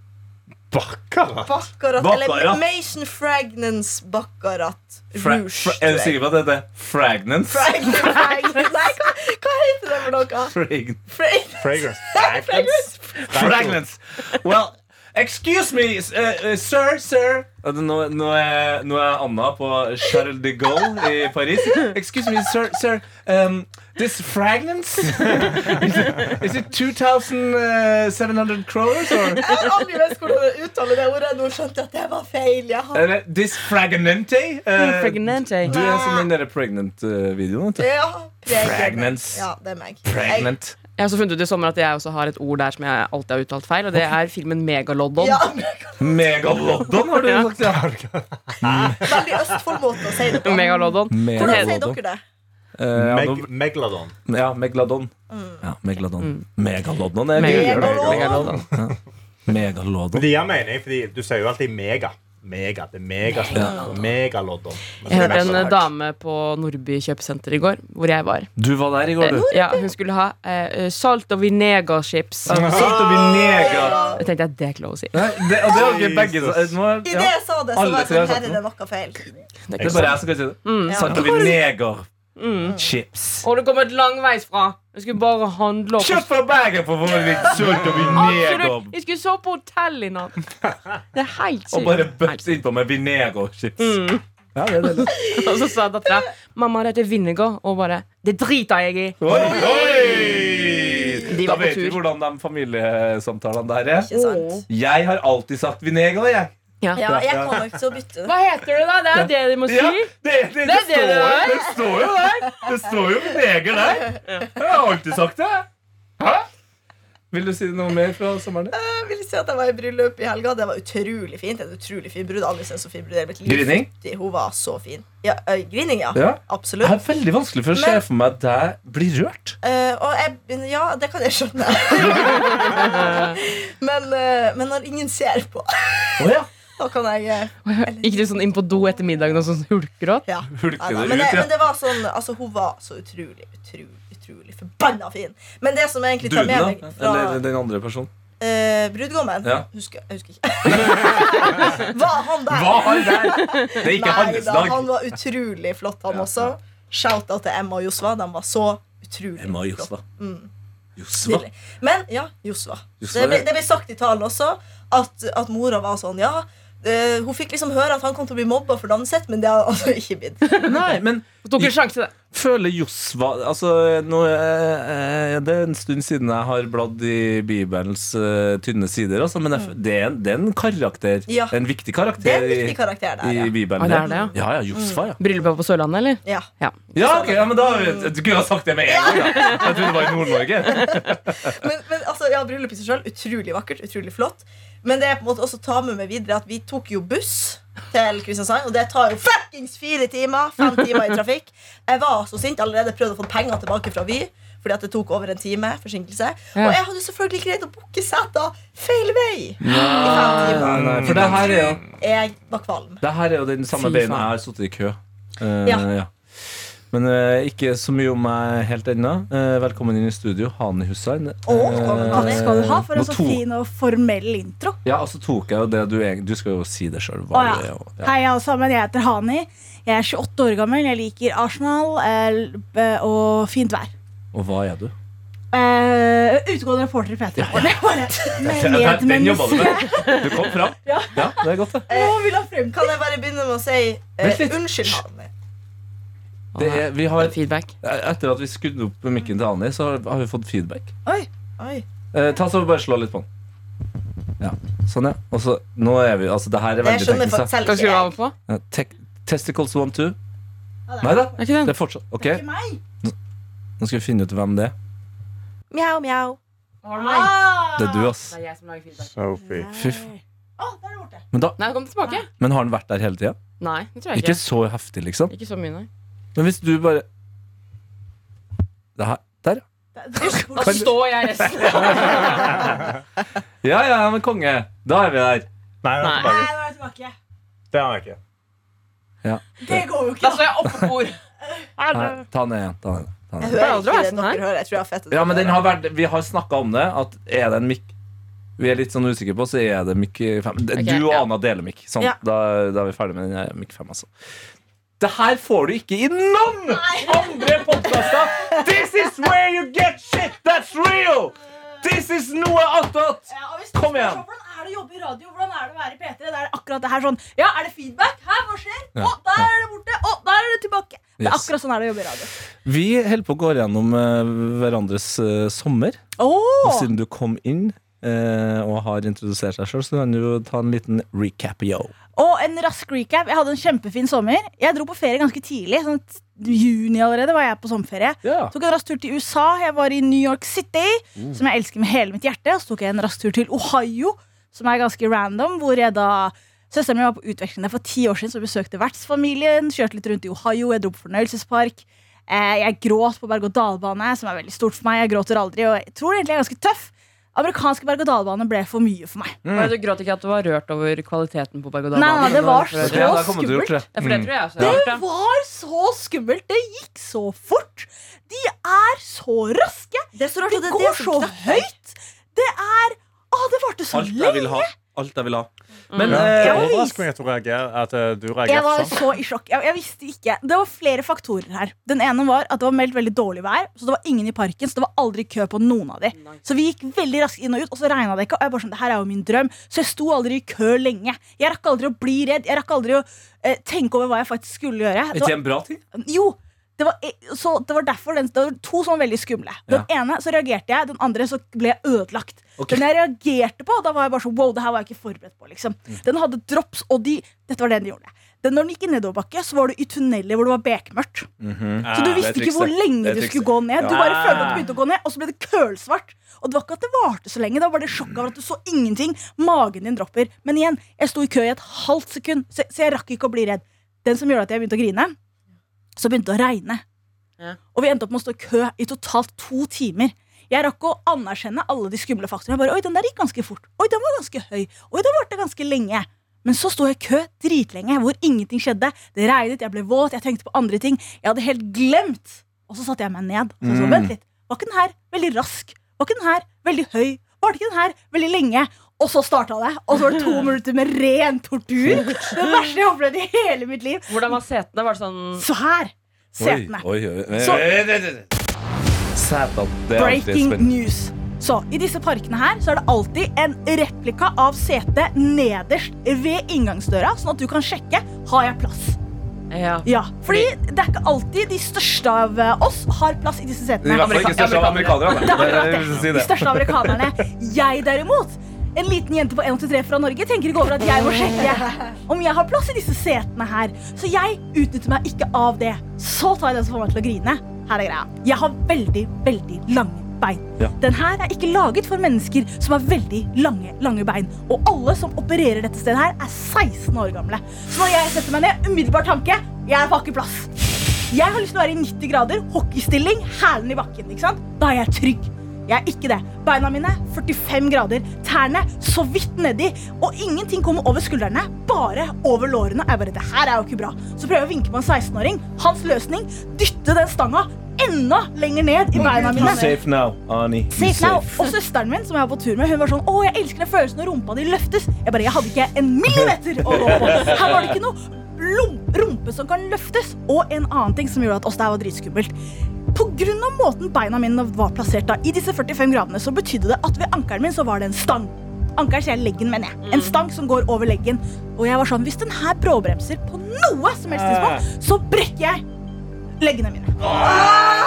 Baccarat.
Baccarat. Eller
Baccarat.
Mason Fragnance Baccarat
Fra,
Rouge.
fra, er du sikker på at det heter Fragnance?
Fragn- Fragnance Nei, hva, hva heter det for noe?
Frag-
Fra-
Fragrance.
Fragrance.
Fragrance. Well, excuse me, s- eh, eh, sir, sir. Eh, Nå, nå, er, nå er Anna på Charles de Gaulle i Paris. Excuse me, sir, sir. Um, this fragrance, is it, is it uh, 2,700 kroners or
Jeg har aldri visst hvordan jeg uttaler det ordet. Nå skjønte jeg at det var feil. Jeg har
Eller this fragnante?
Mm,
Eh,
Pregnante.
du er som den derre pregnant-videoen. vet du.
ja, pregnant.
Fragnance.
Ja, det er meg.
Pregnant.
Jeg har også funnet ut i sommer at jeg også har et ord der som jeg alltid har uttalt feil, og det er filmen Megaloddon.
Jeg, ja,
Megaloddon, har du
Ja.
sagt. Ja.
veldig Østfold-måte å si det på.
Megaloddon.
Hvordan sier
Megaloddon.
dere det?
Eh, ja, nå-
Meg Megladon.
Ja, Megladon.
Mm.
Ja, Megladon. Megalodon er
Mm. Megalodon.
dyrere.
Megalodon.
Ja. Megalodon.
Men det gir mening, fordi du sier jo alltid mega. Mega. Det er megasmart. Megalodon.
Jeg hørte en eh, dame på Nordby kjøpesenter i går, hvor jeg var.
Du var der i går, du.
Eh, ja, hun skulle ha eh, salt og vinegarchips.
Salt og vinegar.
Ja.
Jeg tenkte at det er ikke lov å si.
Nei, Det, og det har ikke begge
Jesus.
nå er-
I det
ja.
jeg sa det, så
Alle
var jeg
tre har
sånn
sagt
Her er det noe feil.
Det er bare jeg som kan si det.
Mm.
Salt og vinegar. Chips.
Og det kom et langveisfra. Jeg skulle bare handle opp.
Kjøp fra Bergen for å få litt salt og vinegar.
Absolutt. Jeg skulle sove på hotell i natt. Det er helt
Og bare
sykt. Helt
bøtte innpå med vinegarchips.
Mm.
Ja, det er deilig.
sykt. Og så sa dattera 'mamma, dette er vinegar', og bare 'det driter jeg i'.
Oi, oi!
De
Da
var på
vet vi
tur.
hvordan de familiesamtalene der er.
Ikke sant?
Jeg har alltid sagt vinegar, jeg.
Ja, jeg kommer nok til å bytte det.
Hva heter det, da? Det er det de må si.
Ja, det, det, det,
det
står,
det er.
jo- det står jo der! Det står jo min egen der. Jeg har alltid sagt det. Hæ? Vil du si noe mer fra sommeren? din?
Jeg vil si at jeg var i bryllup i helga. Det var utrolig fint. En utrolig fin brud. Aldri sett så fin brud. i hele mitt liv.
Grining?
Hun var så fin. Ja, ø, grining, ja.
Ja. Det
Absolutt.
er veldig vanskelig for å se
Men-
for meg at deg blir rørt.
Eh, og jeg, ja, det kan jeg skjønne. men, eh, men når ingen ser på,
Å ja.
da kan jeg eh,
Gikk du sånn inn på do etter middagen og sånn hulkgråt?
Ja. Ja,
Hulker det
da, men, det,
ut, ja.
men det var sånn Altså, hun var så utrolig, utrolig, utrolig forbanna fin. Men det som jeg egentlig tar
Duden,
med
da?
meg fra
Eller den andre personen?
eh, brudgommen
Ja.
husker, Jeg husker ikke. var han der?
Hva har der? Det er ikke
Nei
hans
da,
dag.
han var utrolig flott, han også. Shout-out til Emma og Josva. De var så utrolig
Emma og
flott.
Josva.
Mm.
Josva?
Tidlig. Men ja, Josva.
Josva,
Det, ble-
ja.
det ble sagt i talen også at, at mora var sånn Ja, eh, hun fikk liksom høre at han kom til å bli mobba for navnet sitt, men det har han altså ikke blitt.
Nei, men
Tok en sjanse, det.
føler Josva Altså, nå, eh, eh, det er en stund siden jeg har bladd i Bibelens eh, tynne sider, altså, men jeg, f- det, er en, det er en karakter.
Mm. Ja.
En viktig karakter.
Det er en
i-
viktig karakter der,
i
ja.
Bibelen.
Ah, det er det, ja.
ja, Josfa, ja.
Bryllupet på Sørlandet, eller?
ja.
Ja.
Mm.
Ja, ok, ja, men da Du kunne ha sagt det med en gang. da. Jeg trodde det var i Nord-Norge.
Men, men altså, ja, bryllup i seg sjøl, utrolig vakkert, utrolig flott. Men det jeg på en måte også tar med meg videre, er at vi tok jo buss til Kristiansand, og det tar jo fuckings fire timer! Fem timer i trafikk. Jeg var så sint allerede, prøvde å få penger tilbake fra Vy. for fordi at det tok over en time forsinkelse.
Ja.
Og jeg hadde selvfølgelig greid å booke seter feil vei! I fem
Nei,
timer.
nei, for det her er jo
Jeg var kvalm.
Det her er jo den samme
Fy
beinet
faen.
jeg har sittet i kø. Eh,
Ja.
ja. Men eh, ikke så mye om meg helt ennå. Eh, velkommen inn i studio, Hani Hussein.
velkommen, Hani.
Eh,
skal du ha for
nå
en så
to-
fin og formell intro.
Ja, og så tok jeg jo det du egentlig Du skal jo si det sjøl.
Å, ja. Hei, alle sammen. Jeg heter Hani. Jeg er 28 år gammel. Jeg liker Arsenal eh, og fint vær.
Og hva er du?
Eh, utegående reporter i P3. Og det var det. Med
Den jobba du
medmenneske.
med. Du kom fram. Ja, det er godt, det.
Nå vil han frem.
Kan jeg bare begynne med å si eh,
Vent litt.
unnskyld, Hanni?
det er, vi har,
Feedback.
etter at vi skrudde opp mikken til Hani, så har- har vi fått feedback.
Oi.
Eh, ta så Bare slå litt på den. Ja, sånn, ja. Og så, nå er vi, altså, det her er
Det
veldig
skjønner
teknisk. da.
faktisk selv
Hva
ikke
skal du ha
jeg.
med på?
Ja, tek- testicles one, two.
det er-
Nei da.
Er ikke
Det
den?
er fortsatt Ok,
Det er ikke meg.
nå skal vi finne ut hvem det er.
Mjau, mjau. Ah,
Det er du, ass.
Det er jeg som lager feedback.
Sophie.
Fy f-
Å, der er det borte.
Men, da,
Nei, kom tilbake.
men har han vært der hele tida?
Nei, det tror jeg
Ikke
ikke.
så heftig, liksom.
Ikke så mye, nei.
Men hvis du bare det her, Der, ja.
Det- det-
Da står jeg resten.
Ja, ja, men konge. Da er vi der.
Nei, den er
Nei.
Nei,
tilbake.
nå er jeg tilbake.
Det har jeg ikke.
Det går jo ikke.
Da
da.
står jeg oppå bord.
Nei, ta den ned igjen. Ta den ned. Ta den ned.
Jeg hører
Pleier aldri å
ikke
være
det
sånn
dere
her.
hører. Jeg tror jeg har fettet
Ja, men den har vært, Vi har snakka om det. At Er det en mikk vi er litt sånn usikre på, så er det mikk 5.
Ok,
Du og
ja.
Ana deler mikk. Sånn,
Ja.
da, da er vi ferdig med den her mikk 5, altså. Det her får du ikke i noen andre podkaster! This is where you get shit that's real! This is noe attåt!
Ja, og hvis
Kom
du spør
igjen.
sånn, Hvordan er det å jobbe i radio? Hvordan er det å være i P3? Det er akkurat det her sånn Ja, er det feedback? Her, hva skjer? Å,
Ja.
der er det borte. Å, der er det tilbake. Det er
Yes.
akkurat sånn er det å jobbe i radio.
Vi holder på å gå gjennom eh, hverandres eh, sommer. Og
Oh.
siden du kom inn eh, og har introdusert deg sjøl, så kan du jo ta en liten recap. Yo.
Og en rask recap. Jeg hadde en kjempefin sommer. Jeg dro på ferie ganske tidlig. Sånn t- juni allerede var jeg på sommerferie.
Ja.
Tok en rask tur til USA. Jeg var i New York City, som jeg elsker med hele mitt hjerte. Og så tok jeg en rask tur til Ohio, som er ganske random. Hvor jeg da Søsteren min var på utveksling der for ti år siden, så besøkte vertsfamilien. Kjørte litt rundt i Ohio. Jeg dro på fornøyelsespark. Eh, Jeg gråt på berg-og-dal-bane, som er veldig stort for meg. Jeg gråter aldri, og jeg tror egentlig jeg er ganske tøff. Amerikanske berg-og-dal-bane ble for mye for meg.
Men Du gråt ikke at du var rørt over kvaliteten på berg og
Nei, nei, det var så
Ok, da kommer du
skummelt.
gjort det.
Ja, for det tror jeg også. jeg har
Det
hørt, ja.
var så skummelt! Det gikk så fort! De er så raske!
Det er så rart
De
at det er det
går
som
så
knepper.
høyt! Det er Å, det varte så
Alt jeg
lenge!
vil ha. Alt jeg vil ha. Men
Ja,
eh,
det
jeg vil
overrasker meg at du reagerer, at eh, du
Jeg var
reagerer sånn.
så i sjokk. Jeg, jeg visste ikke Det var flere faktorer her. Den ene var at det var meldt veldig dårlig vær, så det var ingen i parken. Så det var aldri kø på noen av de. Så vi gikk veldig raskt inn og ut, og så regna det ikke. Og jeg bare sånn, det her er jo min drøm Så jeg sto aldri i kø lenge. Jeg rakk aldri å bli redd. Jeg rakk aldri å eh, tenke over hva jeg faktisk skulle
er
gjøre. Det
ikke
var
det en bra ting?
Jo, det var, eh, så det var derfor den, det var to som var veldig skumle. Den ene så reagerte jeg, den andre så ble jeg ødelagt.
Ok.
Den jeg reagerte på, da var jeg bare sånn Wow, det her var jeg ikke forberedt på. liksom Den hadde drops, og de Dette var det de gjorde. Den, når den gikk i nedoverbakke, så var du i tunneler hvor det var bekmørkt.
Mhm.
Så du
Ah,
visste ikke hvor
Det
lenge
er
du
trikset.
skulle gå ned. Du
Ja.
bare følte at du begynte å gå ned, og så ble det kølsvart. Og det var ikke at det varte så lenge, det var bare det sjokket over at du så ingenting. Magen din dropper. Men igjen, jeg sto i kø i et halvt sekund, så, så jeg rakk ikke å bli redd. Den som gjorde at jeg begynte å grine, så begynte det å regne.
Ja.
Og vi endte opp med å stå i kø i totalt to timer. Jeg rakk å anerkjenne alle de skumle faktorene. Jeg bare, Oi, den der gikk ganske fort. Oi, den var ganske høy. Oi, den varte ganske lenge. Men så sto jeg i kø dritlenge, hvor ingenting skjedde. Det regnet, jeg ble våt, jeg tenkte på andre ting. Jeg hadde helt glemt. Og så satte jeg meg ned. Og så, så,
Mm.
vent litt. Var ikke den her veldig rask? Var ikke den her veldig høy? Varte ikke den her veldig lenge? Og så starta det. Og så var det to minutter med ren tortur. Det verste jeg har opplevd i hele mitt liv.
Hvordan var setene? Var det sånn
Så her. Setene.
Oi, oi, oi.
Så-
Sætan. Det er alltid
Breaking
spennende.
news. Så I disse parkene her så er det alltid en replika av setet nederst ved inngangsdøra, sånn at du kan sjekke har jeg plass.
Ja.
Ja, fordi det er ikke alltid de største av eh, oss har plass i disse
I
setene.
hvert fall ikke størst av
Amerikanere.
amerikanerne.
Det hadde vært
Jeg vil si
det. De
det.
største amerikanerne. Jeg derimot, en liten jente på 1,83 fra Norge, tenker ikke over at jeg må sjekke om jeg har plass i disse setene her. Så jeg utnytter meg ikke av det. Så tar jeg den som får meg til å grine. Her er greia. Jeg har veldig, veldig lange bein.
Ja.
Den her er ikke laget for mennesker som har veldig lange lange bein. Og alle som opererer dette stedet her, er 16 år gamle. Så når jeg setter meg ned, umiddelbar tanke jeg har ikke plass. Jeg har lyst til å være i 90 grader, hockeystilling, hælen i bakken. ikke sant? Da er jeg trygg. Jeg er ikke det. Beina mine 45 grader, tærne så vidt nedi, og ingenting kommer over skuldrene, bare over lårene. Jeg bare, det her er jo ikke bra. Så prøver jeg å vinke på en 16-åring. Hans løsning dytte den stanga enda lenger ned i beina
You're
mine.
safe now, Ani. You're
Safe now.
safe.
Og søsteren min som jeg var på tur med, hun var sånn Å, jeg elsker den følelsen når rumpa di løftes. Jeg bare, jeg hadde ikke en millimeter å gå på. Her var det ikke noe lom- rumpe som kan løftes. Og en annen ting som gjorde at oss der var dritskummelt. På grunn av måten beina mine var plassert da, i disse 45 gradene, så betydde det at ved ankelen min så var det en stang. Ankelen sier jeg leggen, mener jeg. En stang som går over leggen. Og jeg var sånn, hvis den her bråbremser på noe som helst tidspunkt, så brekker jeg leggene mine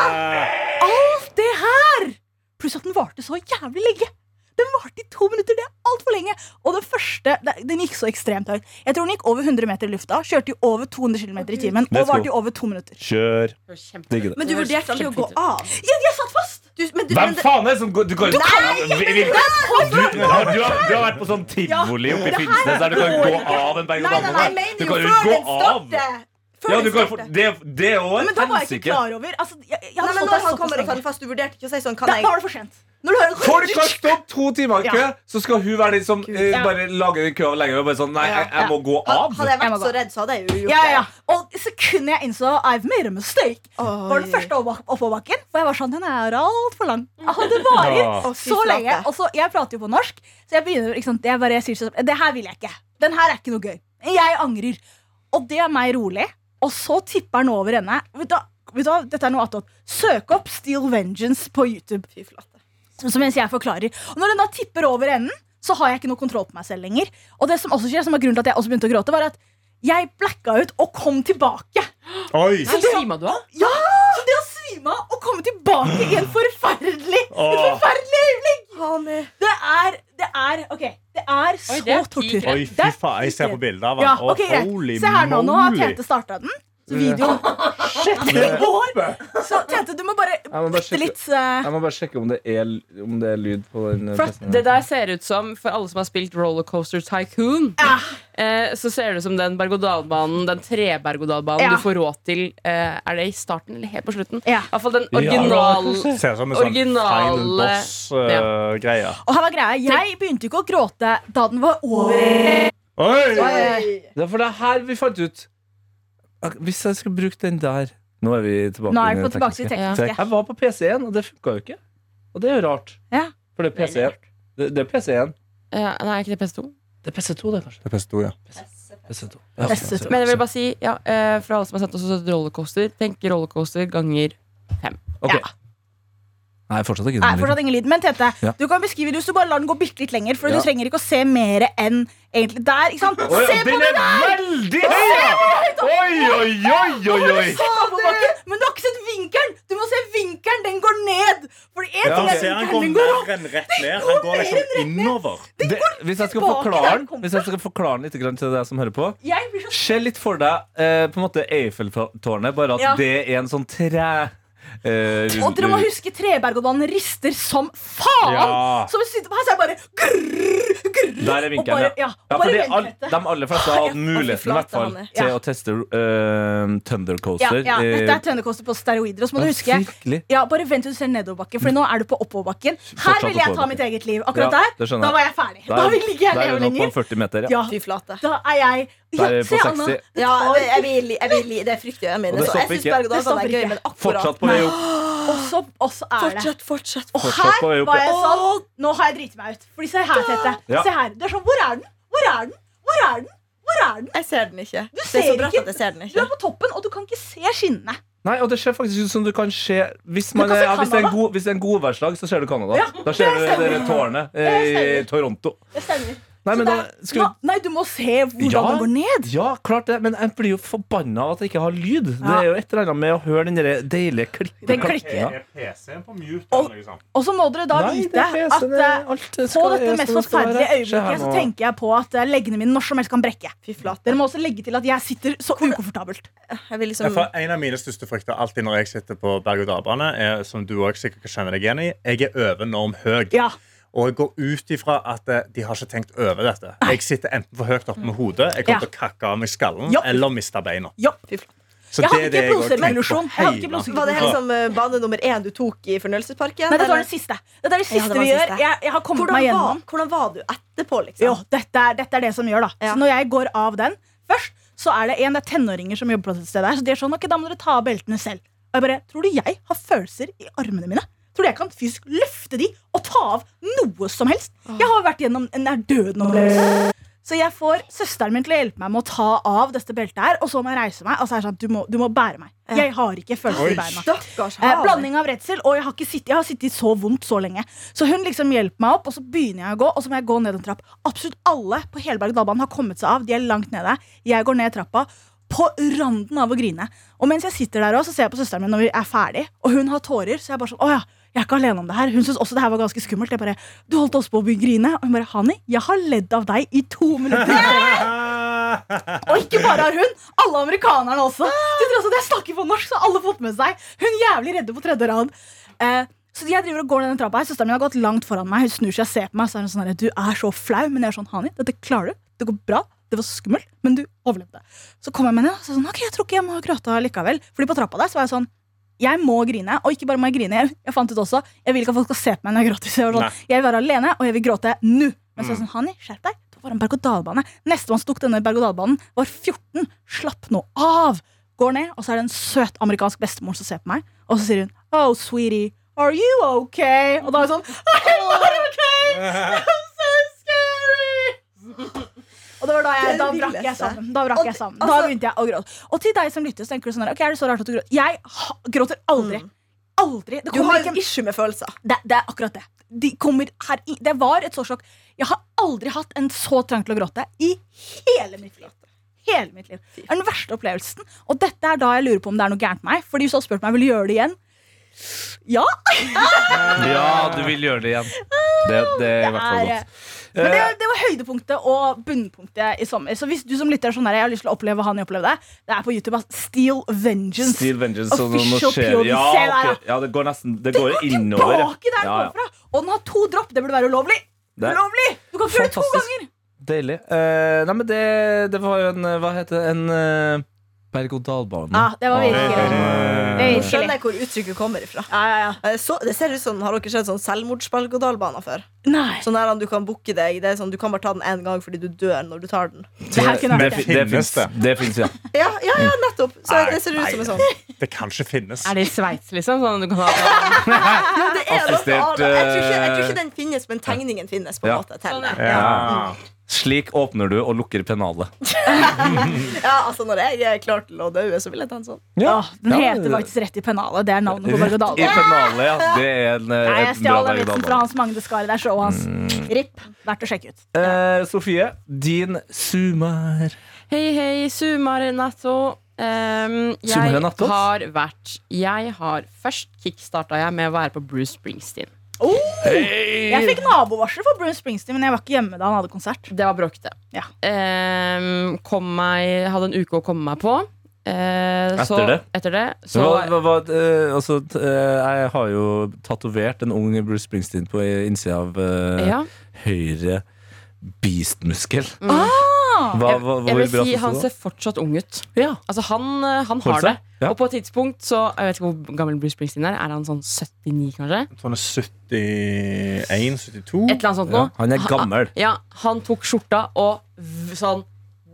alt det her! Pluss at den varte så jævlig lenge. Den varte i to minutter. Det er altfor lenge. Og den første det- den gikk så ekstremt høyt. Jeg tror den gikk over 100 meter i lufta. Kjørte i over 200 km i timen og
Let's go.
varte i over to minutter.
Kjør. Digger
Kjempe-
det.
Men du vurderte aldri å gå av.
Jeg, jeg satt fast!
Du, men du,
Hvem
men det,
faen er det som går Du, går, du, vil- du, du, har, du, har, du har vært på sånn tivoli oppe i Finnsnes der du kan gå av en berg og
nei, nei, nei, jeg
dal
mener
Du
jo
kan jo
før
gå
den
av.
starter. Før
Ja, du
den
kan,
starter.
det, det er jo
Men
et
da var jeg ikke
helsike.
klar over. Altså,
Nei,
jeg, jeg hadde
men
stått
når han
der såpass
kommer og tar den
lenge.
fast, du vurderte ikke å si sånn Kan
Da
jeg
da var det for sent.
Når du hører
Folk har stått to timer i kø,
Ja.
så skal hun være den som eh,
Ja.
bare lager den køen lenger. Og bare sånn, nei, jeg, jeg må gå
Had-
av.
Hadde jeg
Jeg må
vært
gå.
så redd, så hadde jeg jo gjort
Ja, ja, ja.
det.
Og sekundet jeg innså I've made a mistake,
Oi.
var den første oppå- oppoverbakken. Og jeg var sånn, den er altfor lang. Altså, det varer
Å, fy
så
flate.
lenge. Og så, jeg prater jo på norsk, så jeg begynner ikke sant? Jeg bare jeg sier sånn Det her vil jeg ikke. Den her er ikke noe gøy. Jeg angrer. Og det er meg rolig. Og så tipper han over henne. Vet du, hva- vet du, hva? dette er noe attåt. Søk opp Steel Vengeance på YouTube.
Fy flate.
Så mens jeg forklarer Og når den da tipper over enden Så har jeg ikke noe kontroll på meg selv lenger Og det som også skjer, som var grunnen til at jeg også begynte å gråte Var at jeg blacka ut og kom tilbake
sånn. Oi!
Nei, svima du av?
Ja! Så det å svime av og komme tilbake i en forferdelig Et
Åh.
forferdelig øyeblikk
Hani.
Det er, det er, ok Det er så
Oi, det er
tortur
ti
Oi,
Det
fy
er
faen, jeg ser på bildet av
ja,
han. Å,
ok, greit.
holy
Se her nå, nå har
moly.
Tete startet den Så videoen Shit, går Så Tete, du må bare
må bare sjekke-
bytte litt eh,
Jeg må bare sjekke om det er, om det er lyd på den. eh,
For at
testen her.
det der ser ut som, for alle som har spilt Rollercoaster Tycoon, eh, så ser det ut som den berg-og-dal-banen, den tre-berg-og-dal-banen
Ja.
du får råd til eh, Er det i starten eller helt på slutten?
Ja.
I hvert fall den original
Ser ut som en sånn
Original-
Final eh, Boss-greie.
Og her var greia, jeg begynte ikke å gråte Da den var over
Oi!
Det er for det er her vi fant ut Ak- Hvis jeg skulle brukt den der Nå er vi tilbake,
Nå er
i
vi
det
på tilbake til
tekniske.
tekniske
Jeg var på PC1, og det funka jo ikke. Og det er jo rart.
Ja.
For det er PC1. Det, det er PC1.
ja, Nei, ikke det PS2?
Det er PC2, det, kanskje.
Det er PS2, ja.
PC2.
PS2.
Men jeg vil bare si, ja, eh, for alle som har sett oss og sett rollercoaster, tenk rollercoaster ganger
Ok.
Ja.
Nei, fortsatt ikke
Nei, fortsatt ingen lyd. Men Tete,
Ja.
du kan beskrive det hvis du bare lar den gå bitte litt lenger. For
Ja.
du trenger ikke å se mer enn egentlig der. ikke sant?
Oi,
Se på
den
det
er veldig høy! ja! Oi, oi, oi, oi, oi!
oppoverbakken! Men du har ikke sett vinkelen! Du må se vinkelen! Den går ned! For én
Ja,
ting er
ser han går
vinkelen, den går opp!
mer enn rett ned. Han går liksom innover.
Det, hvis jeg skal
tilbake
forklare
der
den
den kom
Hvis jeg skal forklare den litt grann til deg som hører på
Jeg blir så
Se litt for deg eh, på en måte Eiffeltårnet, bare at
Ja.
det er en sånn tre... Eh, rund-
Og dere må huske Treberg-og-banen rister som faen!
Ja.
Så hvis du sitter på her, så er det bare grrr, grrr,
Der er
og
vinkelen,
bare,
ja.
ja, og
ja
bare
fordi
vent
all,
litt.
de aller fleste har hatt muligheten i hvert fall
Hanne.
til
Ja.
å teste eh,
ja,
Thundercoaster.
ja, dette er
eh,
tønnekoster på steroider. Og så må du huske
Virkelig.
Ja, bare vent til du ser nedoverbakken, for nå er du på oppoverbakken. Her
Mm. Fortsatt
vil jeg ta
oppoverbakke.
mitt eget liv.
Ja,
Akkurat der,
det skjønner
da
jeg.
var jeg ferdig.
Der-
Da vil ikke jeg
der er
leve
vi nå
lenger.
på 40 meter, ja.
Ja,
Fy flate.
da er jeg
Der er vi på
se, Anna.
60.
Ja, jeg, jeg, vil, jeg vil, det er fryktelig. Jeg
Og
mener
det
så.
stopper
Jeg syns
ikke.
berg og
Det
dal er
stopper
gøy,
ikke.
men akkurat
Fortsatt på vei opp.
Og så og så er det
Fortsett, fortsett.
Og
Fortsatt
her
på vei opp,
var jeg
ja.
sånn Nå har jeg driti meg ut. Fordi se her, Tete.
Ja.
Se her. Du er sånn Hvor er den? Hvor er den? Hvor er den? Hvor er den?
Jeg ser den ikke.
Du
Det er så
ser
bratt
ikke.
at jeg ser den
Du
ikke.
er på toppen, og du kan ikke se skinnene.
Nei, og det ser faktisk ut som du kan se Hvis, man,
kan se
er- ja, hvis det er en
Canada.
god- hvis det er en godværslag, så ser du Canada.
Ja,
da ser du
det stemmer.
det der tårnet eh,
Det stemmer.
i Toronto.
Det stemmer.
Nei, men
Så
da
det er-
skal vi
Nå- Nei, du må se hvordan
Ja.
den går ned.
Ja, klart det, men jeg blir jo forbanna av at jeg ikke har lyd. Det
Ja.
er jo et eller annet med å høre den der deilige klikken.
Den klikker.
Ja.
PC-en på mute? liksom?
eller Og så må dere da
Nei,
vite
det er
at
PC-en, det er
eh,
alt det
På
skal-
dette
jeg
mest
skal stå her.
forferdelige
Se her
øyeblikket så
nå.
tenker jeg på at eh, leggene mine når som helst kan brekke.
Fy flate.
Dere må også legge til at jeg sitter så ukomfortabelt.
Jeg vil
Ja,
liksom
for en av mine største frykter alltid når jeg sitter på berg-og-dal-bane, er som du også sikkert kan kjenne deg igjen i, jeg er overnorm høy.
Ja.
Og jeg går ut ifra at eh, de har ikke tenkt over dette. Jeg sitter enten for høyt oppe med hodet, jeg
Ja.
kommer til å kakke av meg skallen,
Ja.
eller miste beina.
Ja.
Fy flate.
Så
Jeg
det
hadde
er det
ikke
jeg har tenkt på
blodsukkerproduksjon. Jeg hadde ikke
hele-
blodsukkerproduksjon.
Var det her liksom eh, bane nummer én du tok i fornøyelsesparken?
Nei, dette var
eller?
den siste. Dette er det
Ja,
siste
det var
vi
den
gjør.
siste.
Jeg, jeg har kommet
Hvordan
meg
var,
gjennom.
hvordan var du etterpå, liksom?
Jo, dette er, dette er det som gjør, da.
Ja.
Så når jeg går av den først, så er det en det er tenåringer som jobber på dette stedet her. Så de er sånn, ok, da må dere ta av beltene selv. Og jeg bare, tror du jeg har følelser i armene mine? Tror du jeg kan fysisk løfte de og ta av noe som helst? Jeg har vært gjennom en nær døden opplevelse. Så jeg får søsteren min til å hjelpe meg med å ta av dette beltet her, og så må jeg reise meg. Og så er det sånn, du må, du må bære meg.
Ja.
Jeg har ikke følelser
Oi.
i beina.
Stakkars
Eh,
hare.
blanding av redsel, og jeg har, ikke sittet, jeg har sittet så vondt så lenge. Så hun liksom hjelper meg opp, og så begynner jeg å gå, og så må jeg gå ned en trapp. Absolutt alle på hele berg-og-dal-banen har kommet seg av. De er langt nede. Jeg går ned trappa. På randen av å grine. Og mens jeg sitter der også, så ser jeg på søsteren min når vi er ferdig, og hun har tårer. Så jeg er bare sånn, å ja, jeg er ikke alene om det her. Hun syntes også det her var ganske skummelt. Jeg bare, du holdt oss på å begynne å grine. Og hun bare, Hani, jeg har ledd av deg i to minutter. Og ikke bare har hun, alle amerikanerne også. Til tross for at jeg snakker på norsk, så har alle fått med seg. Hun er jævlig redde på tredje rad. Eh, så jeg driver og går ned den trappa her Søsteren min har gått langt foran meg. Hun snur seg og ser på meg. Så er hun sånn her, Du er så flau, men jeg er sånn Hani, dette klarer du. Det går bra. Det var skummelt, men du overlevde. Så kom jeg meg ned og så er jeg sånn, ok, jeg tror ikke jeg må gråte likevel. Fordi på trappa der så var jeg sånn jeg må grine, og ikke bare må jeg grine. Jeg, jeg fant ut også, jeg vil ikke at folk skal se på meg når jeg gråter. Så jeg, var
Nei.
sånn, jeg vil være alene, og jeg vil gråte nå. Men så er jeg sånn, Hani, skjerp deg. Det var en berg-og-dal-bane. Nestemann som tok denne berg-og-dal-banen, var 14. Slapp nå av! Går ned, og så er det en søt amerikansk bestemor som ser på meg, og så sier hun Oh, sweetie, are you okay? Og da er jeg sånn I'm not okay! I'm so scary! Og det var da jeg,
Det
Eh,
er det
da brakk jeg
villeste.
sammen. Da
Og
brakk jeg
det-
sammen. Da
altså-
begynte jeg å gråte. Og til deg som lytter, så tenker du sånn her, Ok, er det så rart at du gråter? Jeg ha- gråter aldri. Aldri. Det
Mm. Du
kommer
har
ikke
en issue med følelser.
det, det er akkurat det. De kommer her i, det var et så sjokk. Jeg har aldri hatt en så trang til å gråte i hele mitt liv. Hele mitt liv. Det er den verste opplevelsen. Og dette er da jeg lurer på om det er noe gærent med meg. Fordi hvis du hadde spurt meg vil du gjøre det igjen Ja!
Ja, du vil gjøre det igjen. Det, det er i hvert fall
Ah, Det er-
godt.
Men
Eh.
det, det var høydepunktet og bunnpunktet i sommer. Så hvis du som lytter er sånn her, jeg har lyst til å oppleve hva han opplevde det, det er på YouTube. ass. Steel
Eh,
Vengeance.
Steel Vengeance. Så nå
Official
skjer, ja,
POV. Se der, ja.
ok. ja, det går nesten Det
Den
går
går
innover. ja.
tilbake der den
Ja, ja.
kom fra! Og den har to dropp. Det burde være ulovlig.
Det er-
Ulovlig! Du kan ikke gjøre det to
Fantastisk.
ganger.
Deilig. Eh, nei, men det, det var jo en eh, Hva heter det? En eh, berg-og-dal-bane.
Ja, Ah, det var
sånn,
virkelig. Det er
Nå
virkelig.
skjønner jeg hvor uttrykket kommer ifra.
Ja, ja, ja.
Eh, Så, det ser ut som, Har dere sett sånn selvmordsberg-og-dal-baner før?
Nei.
Sånn der at du kan booke deg. Det er sånn, du kan bare ta den én gang fordi du dør når du tar den.
Det her kunne
Men
vært det.
fi-
Det fins,
Finnes det?
det fins, ja.
Ja, ja, ja nettopp. Så
Nei,
det ser ut
nei.
som en sånn.
eh, Det kan ikke finnes.
Er det i Sveits, liksom? Sånn at du kan ha
Men det er noe
Assistert,
av det. Jeg tror, ikke, jeg tror
eh,
ikke den finnes, men tegningen finnes. på en
Ja.
måte til
Sånn,
det.
ja.
Ja.
Slik åpner du og lukker pennalet.
Ja, altså Når jeg er klar til å dø, så vil jeg ta en sånn.
Åh, den
Ja,
heter faktisk Rett i pennalet. Det er navnet på
Rett i
Borgo Dale.
pennalet, ja. Det er en, eh,
Nei, jeg
et bra Mm.
stjal den vitsen
berg-og-dal-bane.
fra Hans Magne Skari. Det er showet hans. RIP. Verdt å sjekke ut.
Eh, Sofie, din sumar.
Hei, hei, sumare natto. Ehm,
Sumare
jeg
natto?
har vært Jeg har Først kickstarta jeg med å være på Bruce Springsteen.
Jeg fikk nabovarsel for Bruce Springsteen, men jeg var ikke hjemme da han hadde konsert.
Det var bråkete.
Ja.
Ehm, kom meg Hadde en uke å komme meg på. Eh, så,
Etter det?
Etter det så,
Hva, hva, hva, eh, altså, t- eh, jeg har jo tatovert en ung Bruce Springsteen på innsida av eh,
ja.
høyre beast-muskel.
Ah!
Hva, hva, hva
Jeg
vil
vil si
Beate
han
si da?
ser fortsatt ung ut.
Ja.
Altså Han, eh, han
Holdt
har
seg?
det.
Ja.
Og på et tidspunkt så Jeg vet ikke hvor gammel Bruce Springsteen er. Er han sånn 79, kanskje?
Sånn 71-72?
Et eller annet sånt
Ja,
nå
han er gammel.
Ja, han tok skjorta og v- sånn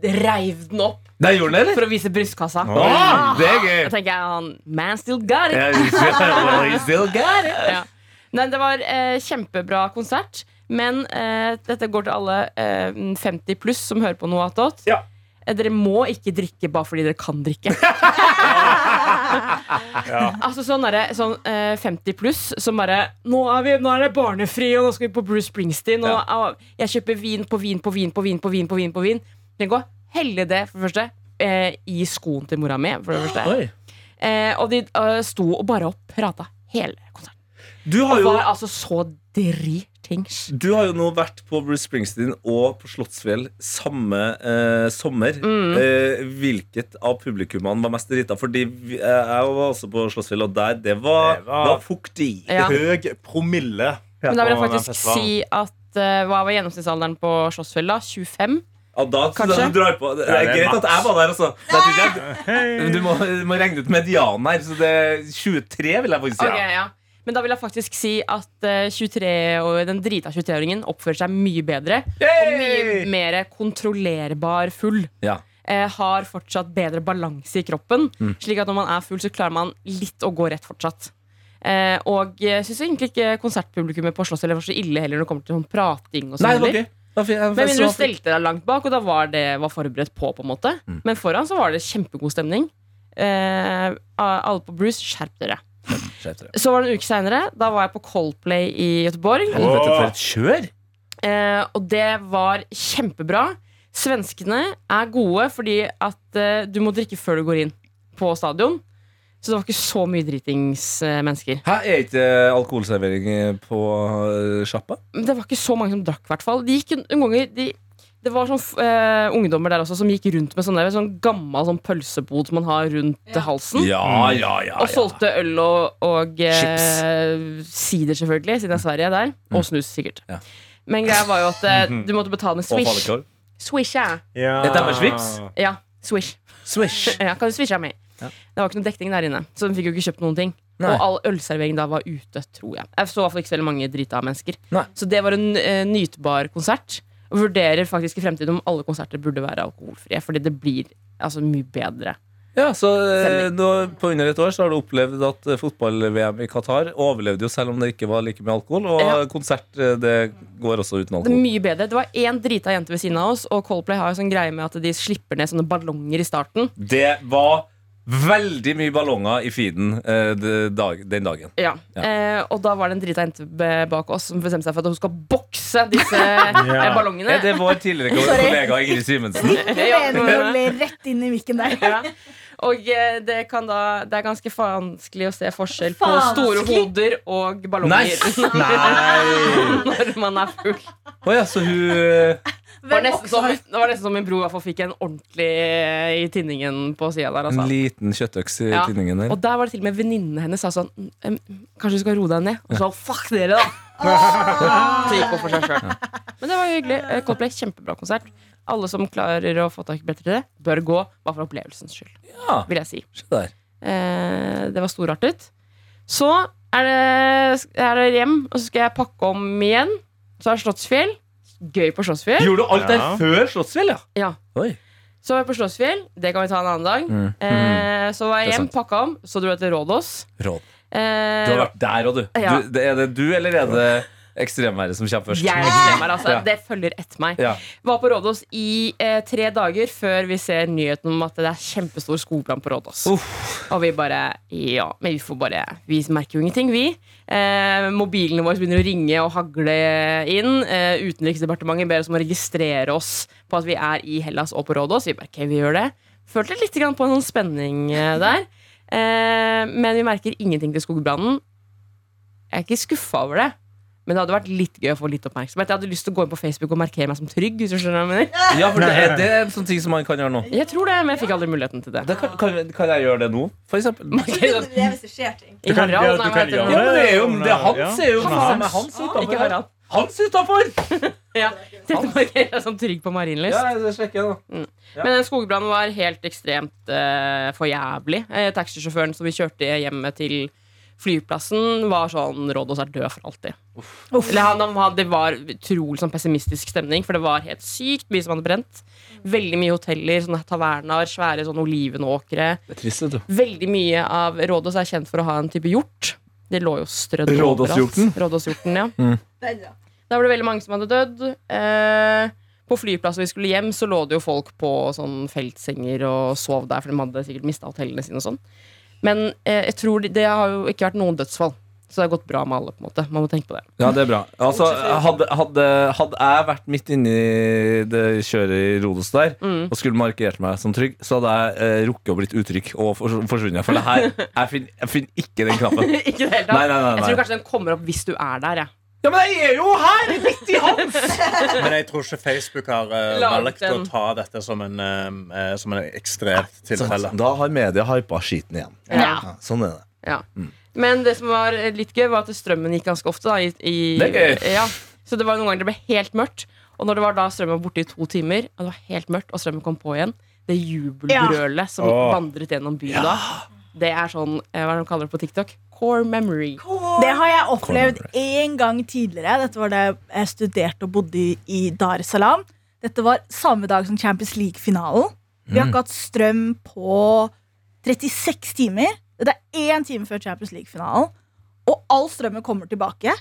reiv den opp
Det gjorde han, eller?
for å vise brystkassa.
Ah, det er gøy!
Da tenker jeg han Man still got it!
Yeah, he's still got it.
Ja. Nei, det var eh, kjempebra konsert. Men eh, dette går til alle eh, 50 pluss som hører på noe attåt.
Ja.
Eh, Dere må ikke drikke bare fordi dere kan drikke. Altså sånn, er det, sånn eh, 50 pluss som bare nå er, vi, 'Nå er det barnefri, og nå skal vi på Bruce Springsteen.' Og, «Å, 'Jeg kjøper vin på vin på vin på vin på vin.' på vin på vin Tenk å helle det, for det første, eh, i skoen til mora mi. For det første.
Oi.
Eh, og de eh, sto og bare og prata hele konserten.
Du har,
Og
jo,
var altså så dritings.
du har jo nå vært på Bruce Springsteen og på Slottsfjell samme eh, sommer.
Mm.
Eh, hvilket av publikummene var mest drita? Fordi vi, eh, jeg var også på Slottsfjell, og der det var,
Det
det
var-
var fuktig.
Ja.
Høg promille.
Men da vil jeg
på den
faktisk
festivalen.
si at eh, hva var gjennomsnittsalderen på Slottsfjell da? 25?
Ja, da, da
Kanskje.
drar på. Det er,
Ja, det er
greit at jeg var der, altså. Det er ikke greit.
Hei.
Du må, du må regne ut medianen her, så det er 23, vil jeg faktisk si.
Ok, ja. Men da vil jeg faktisk si at eh, 23 og den drita 23-åringen oppfører seg mye bedre. Og mye
Yay!
mer kontrollerbar full.
Ja.
Eh, har fortsatt bedre balanse i kroppen.
Mm.
Slik at når man er full, så klarer man litt å gå rett fortsatt. Eh, og jeg syns egentlig ikke konsertpublikummet på Slottet var så ille heller når det kommer til sånn prating. og sånn
Nei, det var
heller.
gøy. Da fikk jeg-
Men
jeg
mindre
så-
du stelte deg langt bak, og da var det var forberedt på. på en måte
Mm.
Men foran så var det kjempegod stemning. Eh, alle på Bruce, skjerp dere.
Skjerp dere.
Så var det en uke seinere. Da var jeg på Coldplay i Göteborg.
Helvete, for et kjør!
Eh, og det var kjempebra. Svenskene er gode fordi at eh, du må drikke før du går inn på stadion. Så det var ikke så mye dritingsmennesker.
Her er ikke alkoholservering eh, på eh, sjappa?
Men det var ikke så mange som drakk, i hvert fall. De gikk en- noen ganger de, Det var sånn f- eh, ungdommer der også som gikk rundt med sånn, der, sånn gammel sånn pølsebod som man har rundt eh, halsen.
Ja, ja, ja.
Og solgte øl og, og
Chips. Mm.
eh, sider, selvfølgelig, siden det er Sverige der. Og snus, sikkert.
Ja.
Men greia var jo at eh, du måtte betale med
Og
Swish.
falukorv.
Swish, ja.
Ja.
Dette er med svips.
ja swish.
Swish.
Ja, kan du switche av meg?
Ja.
Det var ikke noe dekning der inne, så de fikk jo ikke kjøpt noen ting.
Nei.
Og all ølservering da var ute, tror jeg. Jeg så i hvert fall ikke så veldig mange drita mennesker.
Nei.
Så det var en eh, nytbar konsert. Og vurderer faktisk i fremtiden om alle konserter burde være alkoholfrie, fordi det blir altså, mye bedre.
Ja, så eh, nå, På under et år så har du opplevd at eh, fotball-VM i Qatar overlevde jo selv om det ikke var like mye alkohol. Og
Ja.
konsert eh, det går også uten
Det er
alkohol.
mye bedre. Det var én drita jente ved siden av oss, og Coldplay har jo sånn greie med at de slipper ned sånne ballonger i starten.
Det var veldig mye ballonger i feeden eh, det dag, den dagen.
Ja.
Ja.
Eh, og da var det en drita jente b- bak oss som bestemte seg for at hun skal bokse disse eh, ballongene.
Er det vår tidligere ko- kollega Ingrid Simensen?
Ja,
Mener du å le rett inn i mikken der?
Ja. Og eh, det, kan da, det er ganske vanskelig å se forskjell på store
Vanskelig?
hoder og ballonger
Nei!
når man er full.
Å ja, så hun eh,
Det var nesten som, det var nesten som min bror i hvert fall fikk en ordentlig eh, i tinningen på sida
En
der. Altså.
liten kjøttøks i
Ja.
tinningen der.
Og der var det til og med venninnene hennes sa sånn "Mm, em, Kanskje du skal roe deg ned? Og så fuck dere, da! Så gikk hun for seg sjøl. Men det var jo hyggelig. Eh, Coldplay, kjempebra konsert. Alle som klarer å få tak i billetter til det, bør gå. Bare for opplevelsens skyld,
Ja,
vil jeg si.
se der.
Eh, det var storartet. Så er det, er det hjem, og så skal jeg pakke om igjen. Så er det Slottsfjell. Gøy på Slottsfjell.
Gjorde du alt der
Ja.
før Slottsfjell, ja?
Ja.
Oi.
Så var jeg på Slottsfjell. Det kan vi ta en annen dag.
Mm.
Eh, så var
Det er
jeg hjem,
sant.
pakka om, så dro jeg til Rådås.
Råd.
Eh,
Du har vært der òg, du.
Ja.
du. det- Er det du, eller er det ekstremværet som kommer først?
jeg er ekstremer, altså.
Ja.
Det følger etter meg.
Ja.
Var på Rådås i eh, tre dager før vi ser nyheten om at det er kjempestor skogbrann på Rådås. Og vi bare Ja, men vi får bare Vi merker jo ingenting, vi. Eh, mobilene våre begynner å ringe og hagle inn. Eh, Utenriksdepartementet ber oss om å registrere oss på at vi er i Hellas og på Rådås. Vi bare ok, vi gjør det. Følte litt grann på en sånn spenning eh, der. Eh, men vi merker ingenting til skogbrannen. Jeg er ikke skuffa over det. Men det hadde vært litt gøy å få litt oppmerksomhet. Jeg hadde lyst til å gå inn på Facebook og markere meg som trygg. Hvis du skjønner hva jeg, mener.
Ja, for det er, det er en sånn ting som man kan gjøre nå.
jeg tror det, men jeg fikk aldri muligheten til det.
Da kan, kan, kan jeg gjøre det nå, for eksempel?
Ok, så-
Det er hvis det skjer ting.
I
Du kan-
Harald,
du
nei, hva
kan
heter
gjøre
Ja,
det?
men det er jo det er Hans er jo
Hans.
Nei, Hans
Ikke
utafor.
Harald.
Hans utafor!
Ja, tenkte å markere meg som sånn trygg på Marienlyst.
Ja, det sjekker jeg nå. Ja.
Men den skogbrannen var helt ekstremt eh, for jævlig. Eh, Taxisjåføren som vi kjørte hjemme til flyplassen, var sånn Rådås er død for alltid. Eller han, han, hadde- det var utrolig sånn pessimistisk stemning, for det var helt sykt mye som hadde brent. Veldig mye hoteller, sånne tavernaer, svære sånn olivenåkre.
Det er trist, vet du.
Veldig mye av Rådås er kjent for å ha en type hjort. Det lå jo strødd overalt.
Rådåshjorten?
Rådåshjorten, ja.
Den, ja.
Da var det veldig mange som hadde dødd. Eh, på flyplassen vi skulle hjem, så lå det jo folk på sånn feltsenger og sov der, for de hadde sikkert mista hotellene sine og sånn. Men eh, jeg tror det, det har jo ikke vært noen dødsfall. Så det har gått bra med alle. på en måte Man må tenke på det.
Ja, det er bra. Altså, hadde, hadde, hadde jeg vært midt inni det kjøret i Rodos der
Mm.
og skulle markert meg som trygg, så hadde jeg eh, rukket å blitt utrygg og fors forsvunnet. For det her, jeg finner jeg finner ikke den knappen.
ikke det hele tatt.
Nei, nei, nei,
Jeg
nei.
tror kanskje den kommer opp hvis du er der. Jeg.
Ja, men jeg er jo her! Midt i Hans!
Men jeg tror ikke Facebook har eh,
Laget
valgt å
en-
ta dette som en, eh, eh, som en ekstremt
sånn.
tilfelle.
da har media hypa skiten igjen.
Ja.
sånn er det.
Ja. Men det som var litt gøy, var at strømmen gikk ganske ofte. Da, i, i,
Det er gøy.
Ja. Så det var noen ganger det ble helt mørkt. Og når det var da strømmen var borte i to timer, og det var helt mørkt, og strømmen kom på igjen, det jubelbrølet som
Åh.
vandret gjennom byen da, det er sånn eh, Hva er det de kaller det på TikTok? Core memory.
Det har jeg opplevd én gang tidligere. Dette var da jeg studerte og bodde i- i Dar es Salaam. Dette var samme dag som Champions League-finalen. Vi har ikke hatt strøm på 36 timer. Det er én time før Champions League-finalen. Og all strømmen kommer tilbake.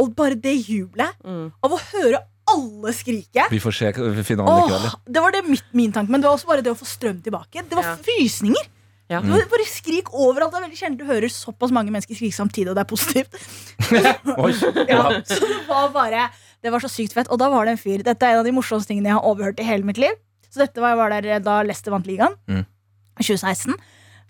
Og bare det jubelet
Mm.
av å høre alle skrike
Vi får se k- finalen i kveld.
Åh, det var det mitt, min tanke, men det var også bare det å få strøm tilbake. Det var
Ja.
frysninger.
Ja.
Mm.
Det var bare skrik overalt. Det er veldig sjelden du hører såpass mange mennesker skrike samtidig, og det er positivt.
ja. Oi.
Ja. Så det var bare Det var så sykt fett. Og da var det en fyr Dette er en av de morsomste tingene jeg har overhørt i hele mitt liv. Så dette var, jeg var der eh, da Leicester vant ligaen.
Mm.
I 2016.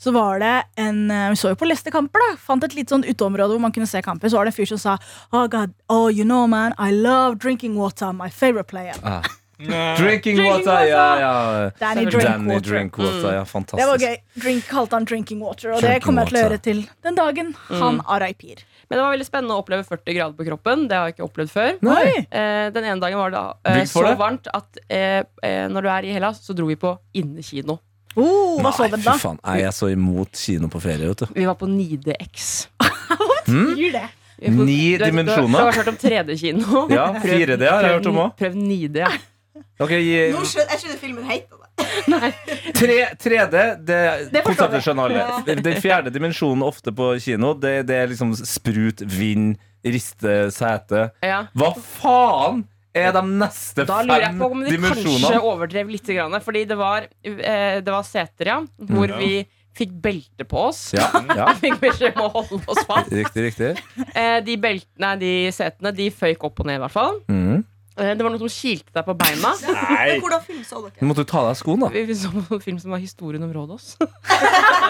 Så var det en eh, Vi så jo på Leicester-kamper, da. Fant et lite sånn uteområde hvor man kunne se kamper. Så var det en fyr som sa Oh God, oh you know man, I love drinking water. My favorite player.
Ah.
Drink.
Drinking water! Ja, ja.
Danny
Selvfølgelig.
Danny
Drinkwater.
Drinkwater. Ja, fantastisk.
Det var gøy. Drink kalte han drinking water, og det
Drinking
kommer jeg til å
water.
gjøre til den dagen han RIP-er.
Men det var veldig spennende å oppleve 40 grader på kroppen. Det har jeg ikke opplevd før.
Oi.
Eh, den ene dagen var det eh,
Brygg for
så
det.
varmt at eh, eh, når du er i Hellas, så dro vi på innekino.
Oh, hva så
Nei,
dere da?
fy faen. Nei, jeg er så imot kino på ferie, vet du.
Vi var på 9DX.
Mm.
Gjør det.
Vi var på-
Ni
du vet-
dimensjoner.
Du har kanskje hørt om 3D-kino?
Ja, 4D har jeg hørt om òg.
Prøv 9D.
Ok, gi
Nå skjønner, jeg skjønner filmen heter det.
Tre, 3D, det,
Det forstår
konseptet skjønner alle. Den fjerde dimensjonen ofte på kino, det, det er liksom sprut, vind, riste, sete.
Ja.
Hva faen er de neste
Da lurer jeg
fem
på om de kanskje
dimensjonene?
overdrev litt. Grann, fordi det var, eh, det var seter, ja, hvor
Ja.
vi fikk belte på oss.
Ja, ja.
Fikk beskjed om å holde oss fast.
Riktig, riktig.
Eh, de, beltene, de setene de føyk opp og ned, i hvert fall.
Mm.
Eh, det var noe som kilte deg på beina.
Nei.
Men Hvordan film så dere?
Nå måtte du ta av deg skoen, da.
Vi vi så på en film som var historien om Rådås.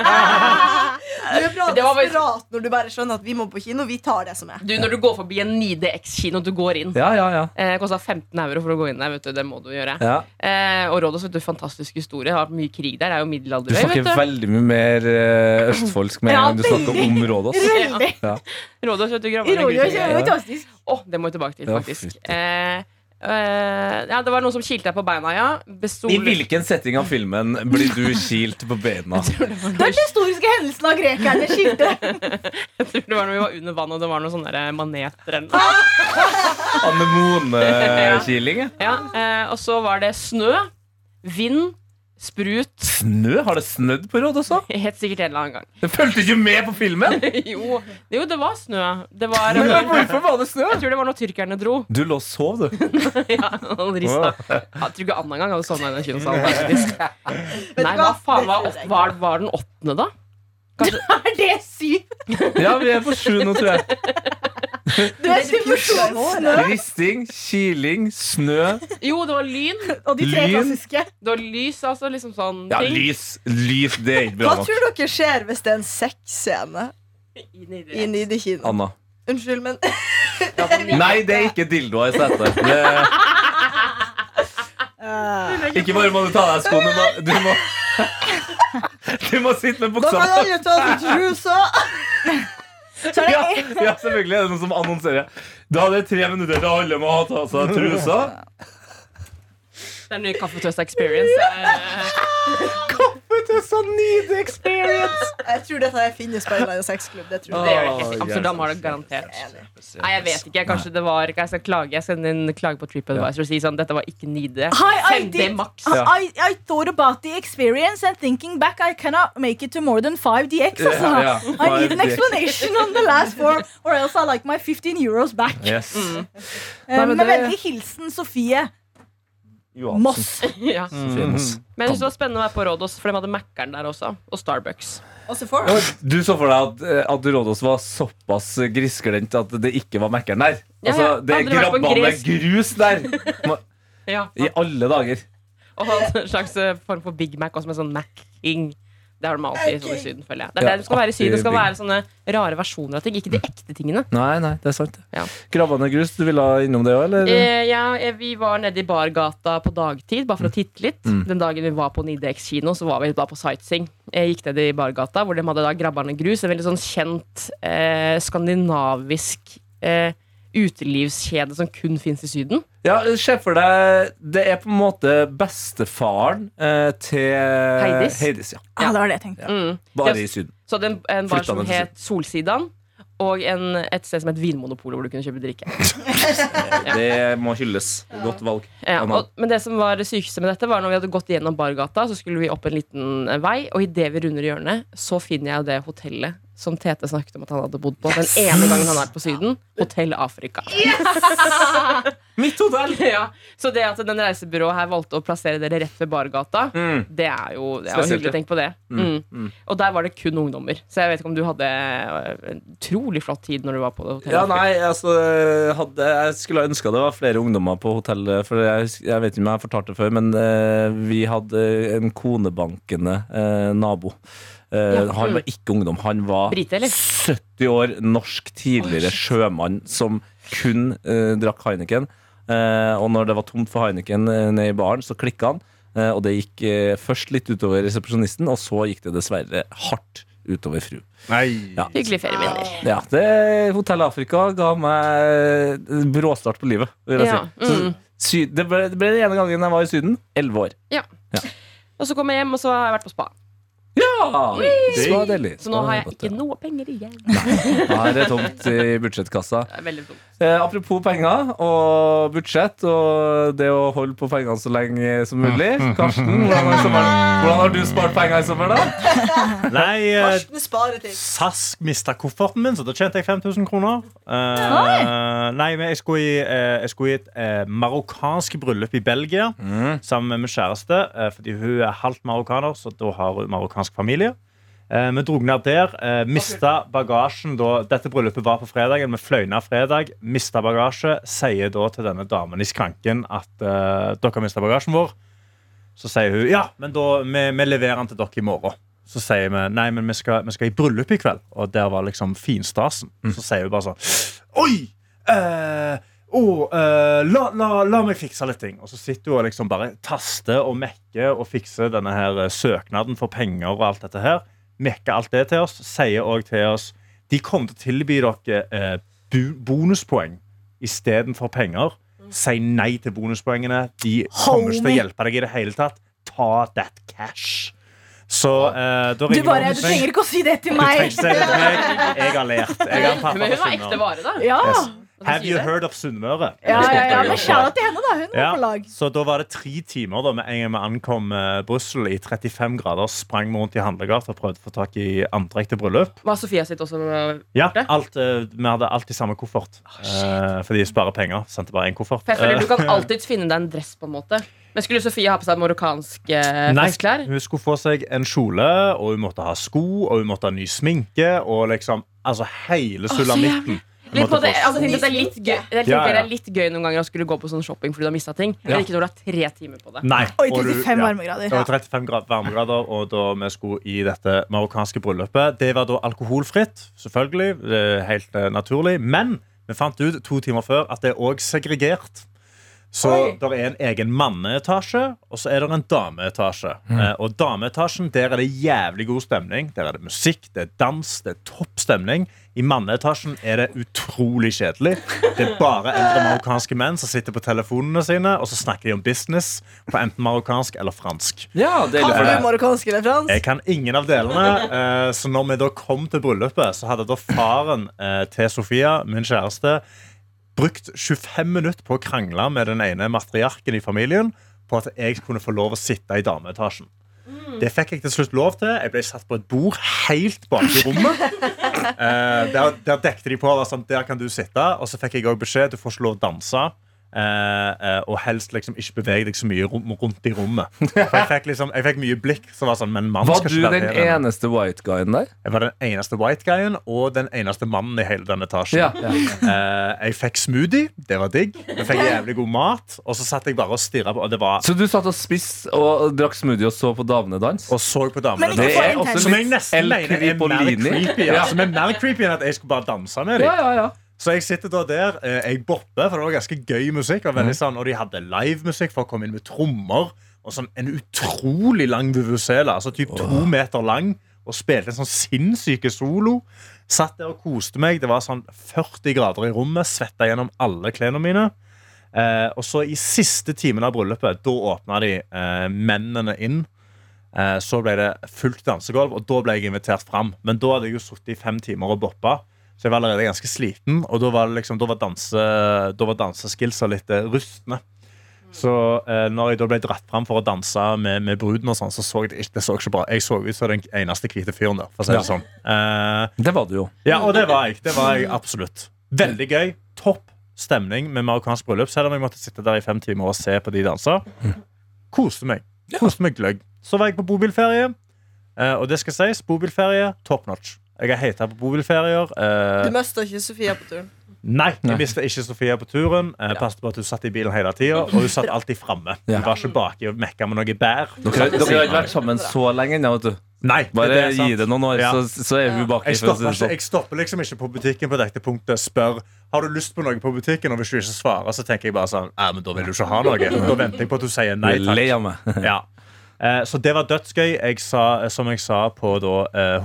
Du er bra
Det var vel-
desperat når du bare skjønner at vi må på kino. Vi tar det som er.
Du, Når du går forbi en 9DX-kino, du går inn.
Ja, ja, ja.
Eh, Kosta 15 euro for å gå inn der. vet du, Det må du gjøre.
ja.
Eh, og Rådås vet du, fantastisk historie. Det har vært mye krig der. Det er jo middelalder.
Du snakker
vet
veldig mye mer eh, østfoldsk med en
Ja,
gang du snakker om området. ass.
Veldig.
du. Rådås, vet du, gravene
Ironisk.
gutter.
det var Fantastisk.
Å, det må vi tilbake til,
Ja,
faktisk.
fytti.
eh, eh, ja, det var noen som kilte deg på beina, ja. Besto
I hvilken setting av filmen blir du kilt på bena?
Den historiske hendelsen av grekerne skilte.
Jeg tror det var når vi var under vann, og det var noen sånne der eh, maneter eller noe.
Anemonekiling? ja.
Ja, eh, og så var det snø, vind, sprut.
Snø? Har det snødd på Råd også?
Helt sikkert en eller annen gang.
Det fulgte ikke med på filmen!
jo, jo, det var snø. Det var,
Men
jeg
hvorfor var det snø?
tror det var når tyrkerne dro.
Du lå og sov, du.
ja, han rista. Jeg tror ikke Anna engang hadde sovna i den kinosalen. faktisk.
du
Nei, hva
hva?
faen var, åt, var, var den åttende, da?
Er det sykt?
Ja, vi er på sju nå, tror jeg.
Du er dimensjon snø
Risting, kiling, snø.
Jo, det var lyn.
og de tre
Lyn.
klassiske.
Det var lys, altså. Liksom sånn
Ja,
ting.
lys. Lys, det er ikke
Hva
bra nok.
tror dere skjer hvis det er en sexscene
Inn i det.
i Nidekino?
Anna.
Unnskyld, men
Nei, det er ikke dildoer i setet. Det- Ikke bare må du ta av deg skoene, men du må Du må sitte med buksa på.
jo ta av seg trusa!
Så er
Ja,
det
ja, selvfølgelig er det noen som annonserer. Da er det tre minutter til alle må ha tatt av seg trusa.
Det er en ny kaffetøst experience. Eh,
Jeg tror dette her finnes på en eller annen sexklubb. Det tror
Det
jeg.
gjør det helt i Amsterdam har det garantert.
Enig.
Nei, jeg vet ikke. Kanskje det var Jeg skal klage Jeg skal sende inn klage på TripAdvisor og si sånn Dette var ikke nide.
Hi, I
5D
did-
maks.
Ja.
I, I thought about the experience and thinking back I cannot make it to more than 5DX. Altså.
Ja, ja.
I need an
5DX.
explanation on the last form, or else I like my 15 euros back.
Yes.
Mm.
Eh,
Nei, men
men
det-
veldig hilsen Sofie
Johansen.
Moss.
Ja.
Sofie Moss.
Men jeg synes det var spennende å være på Rådås, for de hadde Mækkern der også. Og Starbucks.
Og så får
Ja, men Du så for deg at, at Rådås var såpass grisglendt at det ikke var Mækkern der?
Ja,
Altså,
ja.
det er
Hadde det vært på en
grabba med grus der! Ma-
Ja.
I alle dager.
Og en slags eh, form for Big Mac også, med sånn Mac-ing. Det har de alltid sånn i Syden, føler jeg. Det er
Ja, Mm.
der det skal være i Syden. Det skal
alltid
være sånne rare versjoner av ting, ikke de ekte tingene.
Nei, nei, det er sant.
Ja.
Grabba ned grus, du ville innom det òg, eller?
Eh, ja, eh, vi var nede i bargata på dagtid, bare for
Mm.
å titte litt. Den dagen vi var på 9DX kino, så var vi da på sightseeing. Jeg gikk ned i bargata, hvor de hadde da Grabberne grus. En veldig sånn kjent eh, skandinavisk eh, utelivskjede som kun fins i Syden.
Ja, Se for deg Det er på en måte bestefaren eh, til
Heidis.
Heidis ja.
Ja, det var det jeg tenkte.
Mm.
Bare
Ja,
i Syden.
Så hadde en, en bar
Flytta
som
den til
het Solsidan, og en, et sted som het Vinmonopolet, hvor du kunne kjøpe drikke.
Det må hylles. Godt valg.
Ja,
Ja, men-
og, men det som var det sykeste med dette, var når vi hadde gått gjennom Bargata, så skulle vi opp en liten eh, vei, og idet vi runder hjørnet, så finner jeg jo det hotellet som Tete snakket om at han hadde bodd på den ene gangen han var på Syden. Hotell Afrika.
Mitt hotell!
ja, så det at den reisebyrået her valgte å plassere dere rett ved Bargata,
Mm.
det er jo, det er jo
Spesielt,
hyggelig å
ja.
tenke på det. Mm.
Mm, mm.
Og der var det kun ungdommer, så jeg vet ikke om du hadde eh, en utrolig flott tid når du var på det hotellet.
Ja, nei, altså hadde, Jeg skulle ha ønska det var flere ungdommer på hotellet. For jeg, hus- jeg vet ikke om jeg har fortalt det før, men eh, vi hadde en konebankende eh, nabo. Eh,
Ja,
Han
mm.
var ikke ungdom. Han var
Brite, eller?
70 år, norsk tidligere sjømann som kun eh, drakk Heineken. Eh, og når det var tomt for Heineken eh, nede i baren, så klikka han. Eh, og det gikk eh, først litt utover resepsjonisten, og så gikk det dessverre hardt utover fru.
Nei.
Ja.
Hyggelige ferieminner.
Ja, det Hotell Afrika ga meg eh, bråstart på livet, vil jeg
Ja,
si. Så,
mm.
sy, det, ble, det ble den ene gangen jeg var i Syden. Elleve år.
Og så kom jeg hjem, og så har jeg vært på spa.
Ja! Det var deilig.
Så nå har jeg
Godt,
ikke
ja.
noe penger igjen.
Da er det tomt i budsjettkassa.
Det er veldig dumt.
Eh, apropos penger og budsjett og det å holde på pengene så lenge som mulig. Karsten, hvordan har, sommeren, hvordan har du spart penger i sommer, da?
Nei, eh,
Karsten sparer ting.
SAS mista kofferten min, så da tjente jeg 5000 kroner. Eh, nei, men jeg skulle i, eh, jeg skulle i et eh, marokkansk bryllup i Belgia sammen med min kjæreste. eh, fordi hun er halvt marokkaner, så da har hun marokkansk familie. Eh, vi dro ned der, uh, mista bagasjen da Dette bryllupet var på fredagen. Vi fløy ned fredag, mista bagasje. Sier da til denne damen i skranken at eh, dere har mista bagasjen vår. Så sier hun ja, men da, vi, vi leverer den til dere i morgen. Så sier vi nei, men vi skal, vi skal i bryllup i kveld. Og der var liksom finstasen. Så sier hun bare sånn Oi! Eh, å, eh, la, la, la meg fikse litt ting. Og så sitter hun og liksom bare taster og mekker og fikser denne her eh, søknaden for penger og alt dette her. Mekker alt det til oss. Sier òg til oss De kommer til å tilby dere eh, bu- bonuspoeng istedenfor penger. Si nei til bonuspoengene. De kommer ikke til å
Homie.
hjelpe deg i det hele tatt. Ta that cash. Så eh, da
Du,
ringer
bare,
Magnus
du
meg.
trenger ikke å si det til
Du trenger
meg.
ikke si det til meg. Jeg har lært. Jeg har en pappa
Men hun
på
var ekte
Sunnmøre.
vare, da.
Ja,
Yes.
Hva
Have
sier
you
det?
heard of Sunnmøre?
ja, ja, ja Men kjære til henne, da. Hun var
Ja,
på lag.
Så da var det tre timer da med en gang vi ankom eh, Brussel i 35 grader. Sprang vi rundt i handlegata og prøvde å få tak i antrekk til bryllup.
Var Sofia sitt også
Ja,
Det?
alt, eh, Vi hadde alltid samme koffert. eh, fordi de sparer penger. Sendte bare én koffert.
For jeg føler
Eh,
Du kan alltid finne deg en dress, på en måte. Men skulle Sofie ha på seg marokkansk eh,
Nei,
festklær?
hun skulle få seg en kjole, og hun måtte ha sko, og hun måtte ha ny sminke, og liksom Altså hele
så
sulamitten. Hun
Litt på
måtte
det,
få-
altså, jeg synes det, er litt gøy, jeg
Ja,
tenker det
ja.
er litt gøy noen ganger å skulle gå på sånn shopping fordi du har mista ting. Men ikke når du har tre timer på det.
Nei.
Oi,
og du-
35
ja.
varmegrader.
Det var 35 grad, varmegrader, og da vi skulle i dette marokkanske bryllupet. Det var da alkoholfritt, selvfølgelig. Det er helt eh, naturlig. Men vi fant ut to timer før at det er òg segregert. Så det er en egen manneetasje, og så er det en dameetasje. Eh, og dameetasjen, der er det jævlig god stemning. Der er det musikk, det er dans, det er topp stemning. I manneetasjen er det utrolig kjedelig. Det er bare eldre marokkanske menn som sitter på telefonene sine, og så snakker de om business på enten marokkansk eller fransk.
Ja, deilig
Kan
for
du
deg.
marokkansk eller fransk?
Jeg kan ingen av delene. eh, Så når vi da kom til bryllupet, så hadde da faren eh, til Sofia, min kjæreste, brukt 25 minutter på å krangle med den ene matriarken i familien på at jeg kunne få lov å sitte i dameetasjen. Det fikk jeg til slutt lov til. Jeg ble satt på et bord helt bak i rommet. Eh, der, der dekte de på og var sånn, der kan du sitte. Og så fikk jeg også beskjed du får ikke lov å danse. eh, eh, og helst liksom ikke bevege deg så mye rom, rundt i rommet. For jeg fikk, liksom, jeg fikk mye blikk som var sånn Men mann
Var
skal
du
ikke være
den
her inne."
eneste white guyen der?
Jeg var den eneste white guyen og den eneste mannen i hele den etasjen. Eh, jeg fikk smoothie. Det var digg. Jeg fikk jævlig god mat. Og så satt jeg bare og stirra på, og det var
Så du satt og spiste og drakk smoothie og så på damene dans?
og så på
Men
damene.
ikke
Det
for
er
intenst.
også Som jeg nesten
El
mener er mer
Cripolini.
creepy, ja.
Ja.
Som er mer creepy enn at jeg skulle bare danse med dem.
Ja, ja, ja.
Så jeg sitter da der, eh, jeg bopper, for det var ganske gøy musikk. Og, veldig sånn, og de hadde livemusikk for å komme inn med trommer. Og sånn en utrolig lang vuvuzela, altså typ to meter lang. Og spilte en sånn sinnssyke solo. Satt der og koste meg. Det var sånn 40 grader i rommet. Svetta gjennom alle klærne mine. Eh, og så i siste timen av bryllupet, da åpna de eh, mennene inn. Eh, så ble det fullt dansegulv, og da ble jeg invitert fram. Men da hadde jeg jo sittet i fem timer og boppa, så jeg var allerede ganske sliten. Og da var, det liksom, da var, danse, da var danseskillsa litt eh, rustne. Så eh, når jeg da ble dratt fram for å danse med, med bruden, og sånn, så så jeg det ikke, det så ikke bra. Jeg så ut som den eneste hvite fyren der. For å si det
Ja.
sånn. Eh,
Det var det jo.
ja, og det var jeg. Det var jeg absolutt. Veldig gøy. Topp stemning med marokkansk bryllup, selv om jeg måtte sitte der i fem timer og se på de danser. Koste meg. Koste meg gløgg. Så var jeg på bobilferie, eh, og det skal sies, bobilferie top notch. Jeg har hata på bobilferier. eh,
Du mista ikke Sofia på turen.
Nei,
Nei.
jeg mista ikke Sofia på turen. Jeg passet på at hun satt i bilen hele tida, og hun satt alltid framme.
Ja.
Hun var ikke baki og mekka med noe bær. Hun
Dere,
satt ved
dere har
siden
ikke
av
vært sammen så lenge ennå. vet du.
meg. Nei,
Bare
er sant.
gi det noen år,
Ja.
så, så er vi baki.
Jeg
for å
stopper,
si det
ikke,
sånn.
jeg stopper liksom ikke på butikken på dette punktet. Spør har du lyst på noe på butikken, og hvis du ikke svarer, så tenker jeg bare sånn Nei, men da vil du ikke ha noe. Da venter jeg på at du sier nei
Jeg er lei
takk.
av meg.
Ja. Eh, Så det var dødsgøy. Jeg sa, eh, som jeg sa på da, eh,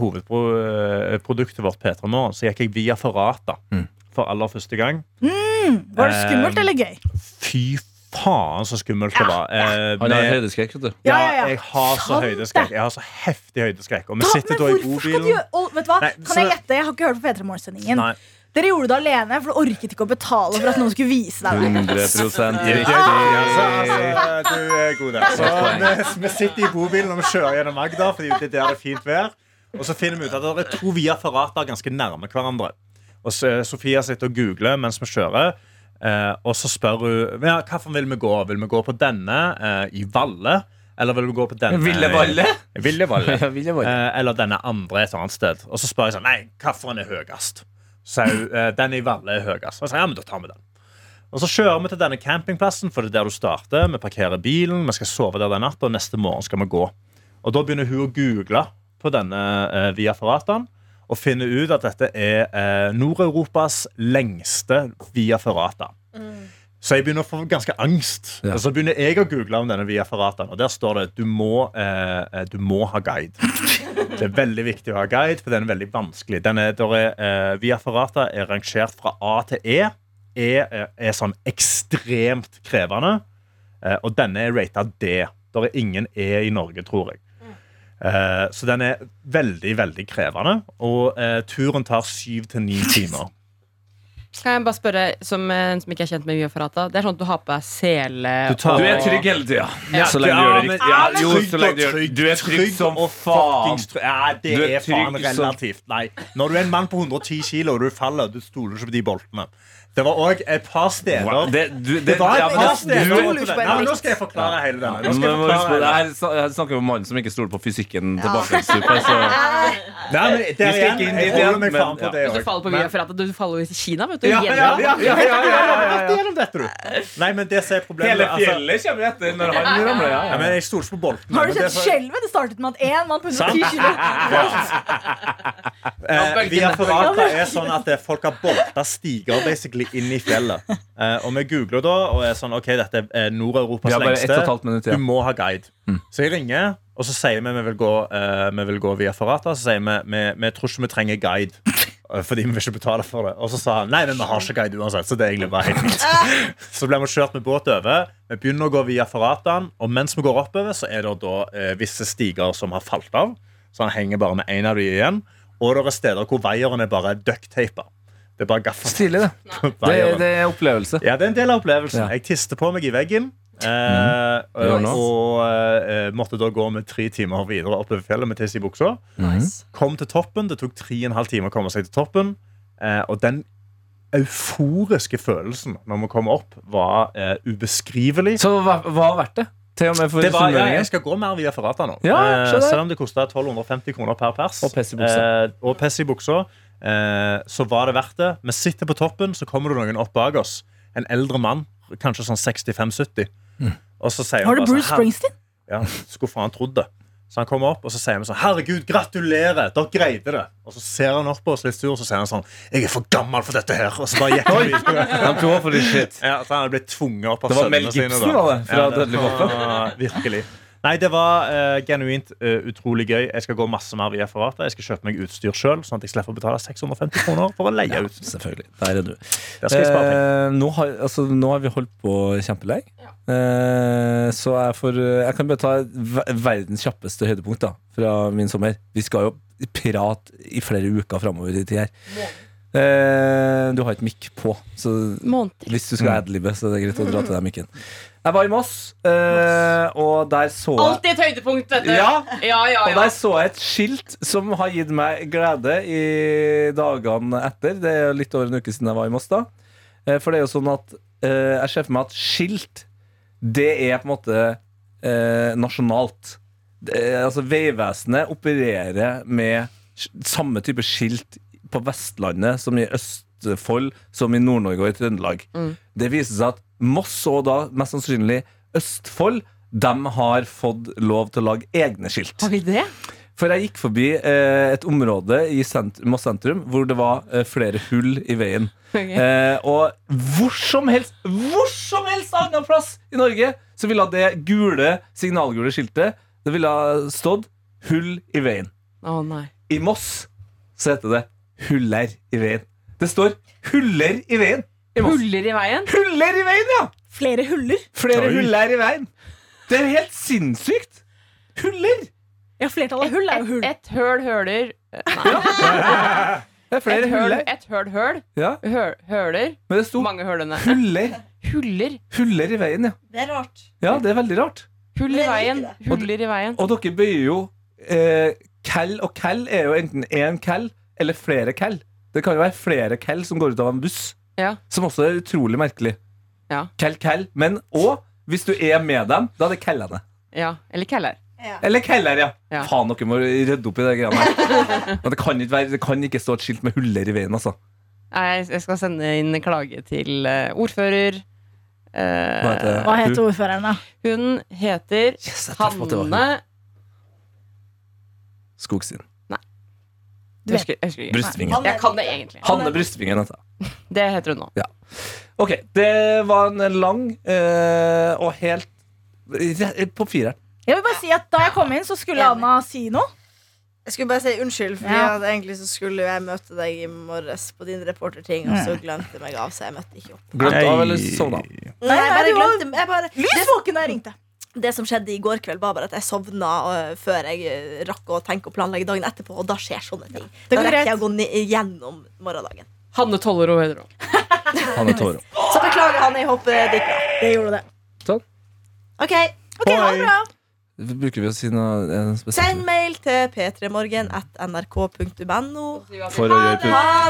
hovedproduktet vårt, P3 Morgen, så gikk jeg via Ferrata
Mm.
for aller første gang.
Var det skummelt
Eh,
eller gøy?
Fy faen, så skummelt det var. Eh,
Han har
med-
høydeskrekk. vet du.
ja,
Ja, ja, ja.
jeg har så
Sant det.
høydeskrekk. Jeg har så heftig høydeskrekk. Og vi
Da-
sitter
men
da i
hvorfor skal du
bobilen.
gjøre- Å, vet du hva?
Nei,
kan
så-
jeg gjette? Jeg har ikke hørt på P3 Morgen-sendingen.
Nei.
Dere gjorde det alene, for du orket ikke å betale for at noen skulle vise deg
Mm.
100
det.
Riktig.
riktig.
Altså, altså, du er god der. Så eh, vi, vi sitter i bobilen og vi kjører gjennom Agder, fordi det er der det er fint vær. Og så finner vi ut at det er to Via Ferrata ganske nærme hverandre. Og så, eh, Sofia sitter og googler mens vi kjører. Eh, og så spør hun ja, hvilken vil vi gå Vil vi gå på denne eh, i Valle. Eller vil vi gå på denne
Ville Valle?
Ville Valle.
Ja, Ville Valle.
Eh, eller denne andre et annet sted. Og så spør jeg sånn Nei, hvilken er høyest? Så sier hun eh, den i Valle er høyest. Og så sier jeg, ja, men da tar vi den. Og så kjører vi til denne campingplassen, for det er der du starter. Vi parkerer bilen, vi skal sove der den natta, og neste morgen skal vi gå. Og da begynner hun å google på denne eh, Via Ferrataen og finner ut at dette er eh, Nord-Europas lengste Via Ferrata. Så jeg begynner å få ganske angst.
Ja.
Og så begynner jeg å google om denne Via Ferrataen, og der står det du må, eh, eh, du må ha guide. Det er veldig viktig å ha guide, for den er veldig vanskelig. Den er, der er, eh, Via Ferrata er rangert fra A til E. E er, er sånn ekstremt krevende, eh, og denne er rata D. Der er ingen E i Norge, tror jeg. Eh, så den er veldig, veldig krevende, og eh, turen tar syv til ni timer.
Kan jeg bare spørre, som, eh, som ikke er kjent med Viafarata Det er sånn at du har på deg sele
Du tar-
Du er trygg hele tida. Så lenge du
Ja,
gjør det
men-
riktig. Ja, jo,
trygg
så lenge du,
og
gjør,
trygg,
du er trygg som
og
faen.
fuckings trygg. Ja, det
Du er
er, faen
trygg som-
relativt. Nei. Når du er en mann på 110 kilo og du faller, du stoler ikke på de boltene. Det var òg et par steder
Wow,
det,
Det, du, det,
var
ja,
et
men
par
det-
steder
du-
Nei,
stoler ikke på en
men Nå skal jeg forklare hele denne. Nå
Men man
skal jeg
må huske på,
forklare
det
hele.
her sna- her snakker vi om mannen som ikke stoler på fysikken til bakgrunnsstupet. Så
Nei, men der
Vi skal
igjen,
ikke inn i det,
jeg holder meg
men-
faen på
ja.
det
Hvis du
også.
faller på
Men-
Viafarata, du faller jo til Kina, vet du.
Ja, ja,
gjennom.
ja, ja, ja, ja, ja, ja, ja. Gjennom dette, du. Nei, men det som er problemet
hele
altså-
fjellet kommer etter når han ramler. Ja,
Ja, men jeg stoler ikke på boltene.
Har du
men det
sett
som-
skjelvet? Det startet med at én mann på 110 kilo
Eh, via Ferrata er sånn at eh, folk har bolta stiger basically inn i fjellet. Eh, og vi googler da og er sånn OK, dette er
Vi
Nord-Europas
har bare ett og et halvt
lengste.
minutt
Du
igjen.
må ha guide. Så jeg ringer, og så sier vi vi vil gå, eh, vi vil gå via Ferrata. Så sier vi vi, vi tror ikke vi trenger guide. eh, Fordi vi vil ikke betale for det. Og så sa han nei, men vi har ikke guide uansett. Så det er egentlig bare helt fint. Så ble vi kjørt med båt over. Vi begynner å gå via Ferrataen, og mens vi går oppover, så er det da eh, visse stiger som har falt av. Så han henger bare med én av de igjen. Og det er steder hvor veieren er bare ducktapa. Det er bare gaffel.
Stilig, det.
på
Det,
veieren.
det er opplevelse.
Ja, det er en del av opplevelsen.
Ja. Mm.
Jeg tiste på meg i veggen. eh,
gjør
og
nå.
og eh, måtte da gå med tre timer videre oppover fjellet med tiss i buksa.
Nice.
Kom til toppen. Det tok tre og en halv time å komme seg til toppen. Eh, og den euforiske følelsen når vi kom opp, var eh, ubeskrivelig.
Mm. Så hva hva har vært det? Til og med for
Det var, ja, jeg
sunnmøringer.
skal gå mer via Ferrata nå.
Ja,
Eh,
skjønner jeg.
selv om det kosta 1250 kroner per pers.
Og pess i buksa.
eh, og pess i buksa. eh, så var det verdt det. Vi sitter på toppen, så kommer det noen opp bak oss. En eldre mann, kanskje sånn 65-70. Og så sier han
Var det
bare
Bruce
sånn, "Her-
Springsteen?
ja, skulle faen trodd det. Så han kommer opp og så sier vi sånn Herregud, gratulerer! Dere greide det. Og så ser han opp på oss litt sur og så sier han sånn Jeg er for gammel for dette her. Og så bare gikk han videre.
Han tror for det shit.
Ja, så han er blitt tvunget opp av
Det var Mel
sønnene sine.
Gibson, var det, fra
Ja,
Dødelig våpen?
var- Virkelig. Nei, det var eh, genuint eh, utrolig gøy. Jeg skal gå masse mer i referatet. Jeg skal kjøpe meg utstyr sjøl, sånn at jeg slipper å betale 650 kroner for å leie
Ja,
ut.
selvfølgelig. Der er du.
Der skal jeg spare penger.
Eh, nå, har, altså, nå har vi holdt på kjempelenge. Eh, så jeg, får, jeg kan bare ta ver- verdens kjappeste høydepunkt da, fra min sommer. Vi skal jo prate i flere uker framover i tid her. Eh, du har et mikk på, så
Måneder.
hvis du skal
Mm.
adlibe, så er det greit å dra til deg mikken. Jeg var i Moss, eh, og der så jeg
Alltid et høydepunkt, dette.
Ja.
ja, ja.
og
ja.
der så jeg et skilt som har gitt meg glede i dagene etter. Det er litt over en uke siden jeg var i Moss da. Eh, For det er jo sånn at eh, jeg ser for meg at skilt, det er på en måte eh, nasjonalt. Det er- altså Vegvesenet opererer med s- samme type skilt på Vestlandet som i Østfold, som i Nord-Norge og i Trøndelag.
Mm.
Det viser seg at Moss og da mest sannsynlig Østfold, de har fått lov til å lage egne skilt.
Har vi det?
For jeg gikk forbi eh, et område i sent Moss sentrum hvor det var eh, flere hull i veien.
Ok.
Eh, og hvor som helst Hvor som helst annen plass i Norge så ville det gule, signalgule skiltet Det ville ha stått 'hull i veien'.
Å nei.
I Moss så heter det 'huller i veien'. Det står 'huller i veien' i Moss.
Huller i veien?
Huller i veien, ja!
Flere huller.
Flere
Oi.
huller i veien. Det er jo helt sinnssykt! Huller!
Ja, flertallet av hull er jo hull.
Et høl høler
Det er
Et
flere
høl,
huller.
et høl høl.
Ja,
høl høler.
men det sto
Mange hølene.
huller.
Huller.
Huller i veien, ja.
Det er rart.
Ja, det er veldig rart.
Hull
Men
i
jeg liker
veien.
det.
Huller i veien.
Og dere bøyer jo eh, Kell og kell er jo enten én kell eller flere kell. Det kan jo være flere kell som går ut av en buss.
Ja.
Som også er utrolig merkelig.
Ja.
Kell, kell. Men òg, hvis du er med dem, da er det kellene.
Ja. Eller keller.
Ja.
Eller keller, ja.
Ja.
Faen, dere må rydde opp i det greiene her. Men det kan, ikke være, det kan ikke stå et skilt med huller i veien, altså.
Nei, Jeg jeg skal sende inn klage til eh, ordfører. Eh,
Hva heter
Hva heter ordføreren, da?
Hun heter
Yes, jeg traff at det var hun.
Hanne
Skogstien.
Jeg husker- jeg husker ikke.
Brystvingen.
Jeg kan det egentlig.
Hanne Brystvingen, altså.
Det heter hun nå.
Ok, det var en lang eh, og helt rett- På fireren.
Jeg vil bare si at Da jeg kom inn, så skulle Anna si noe.
Jeg skulle bare si unnskyld, for
Ja.
egentlig så skulle jeg møte deg i morges på din reporterting, og så glemte jeg meg av, så jeg møtte ikke opp.
Glemt av eller
Nei.
sovna?
Nei, jeg
nei,
bare
du var-
glemte jeg bare,
Lys våken da jeg ringte.
Det som skjedde i går kveld, var bare at jeg sovna øh, før jeg øh, rakk å tenke og planlegge dagen etterpå, og da skjer sånne ting. Da
Det går
rekker jeg
greit.
å gå ned igjennom morgendagen.
Hanne Tollero heter hun.
Han er tårer.
Så beklager, Hanne. Jeg håper det gikk bra.
Det gjorde det.
OK.
Ok, ha det bra.
Bruker vi å si noe eh,
Send
spesielt?
mail til p3morgen at nrk.no.
For å gjøre pult.
Ha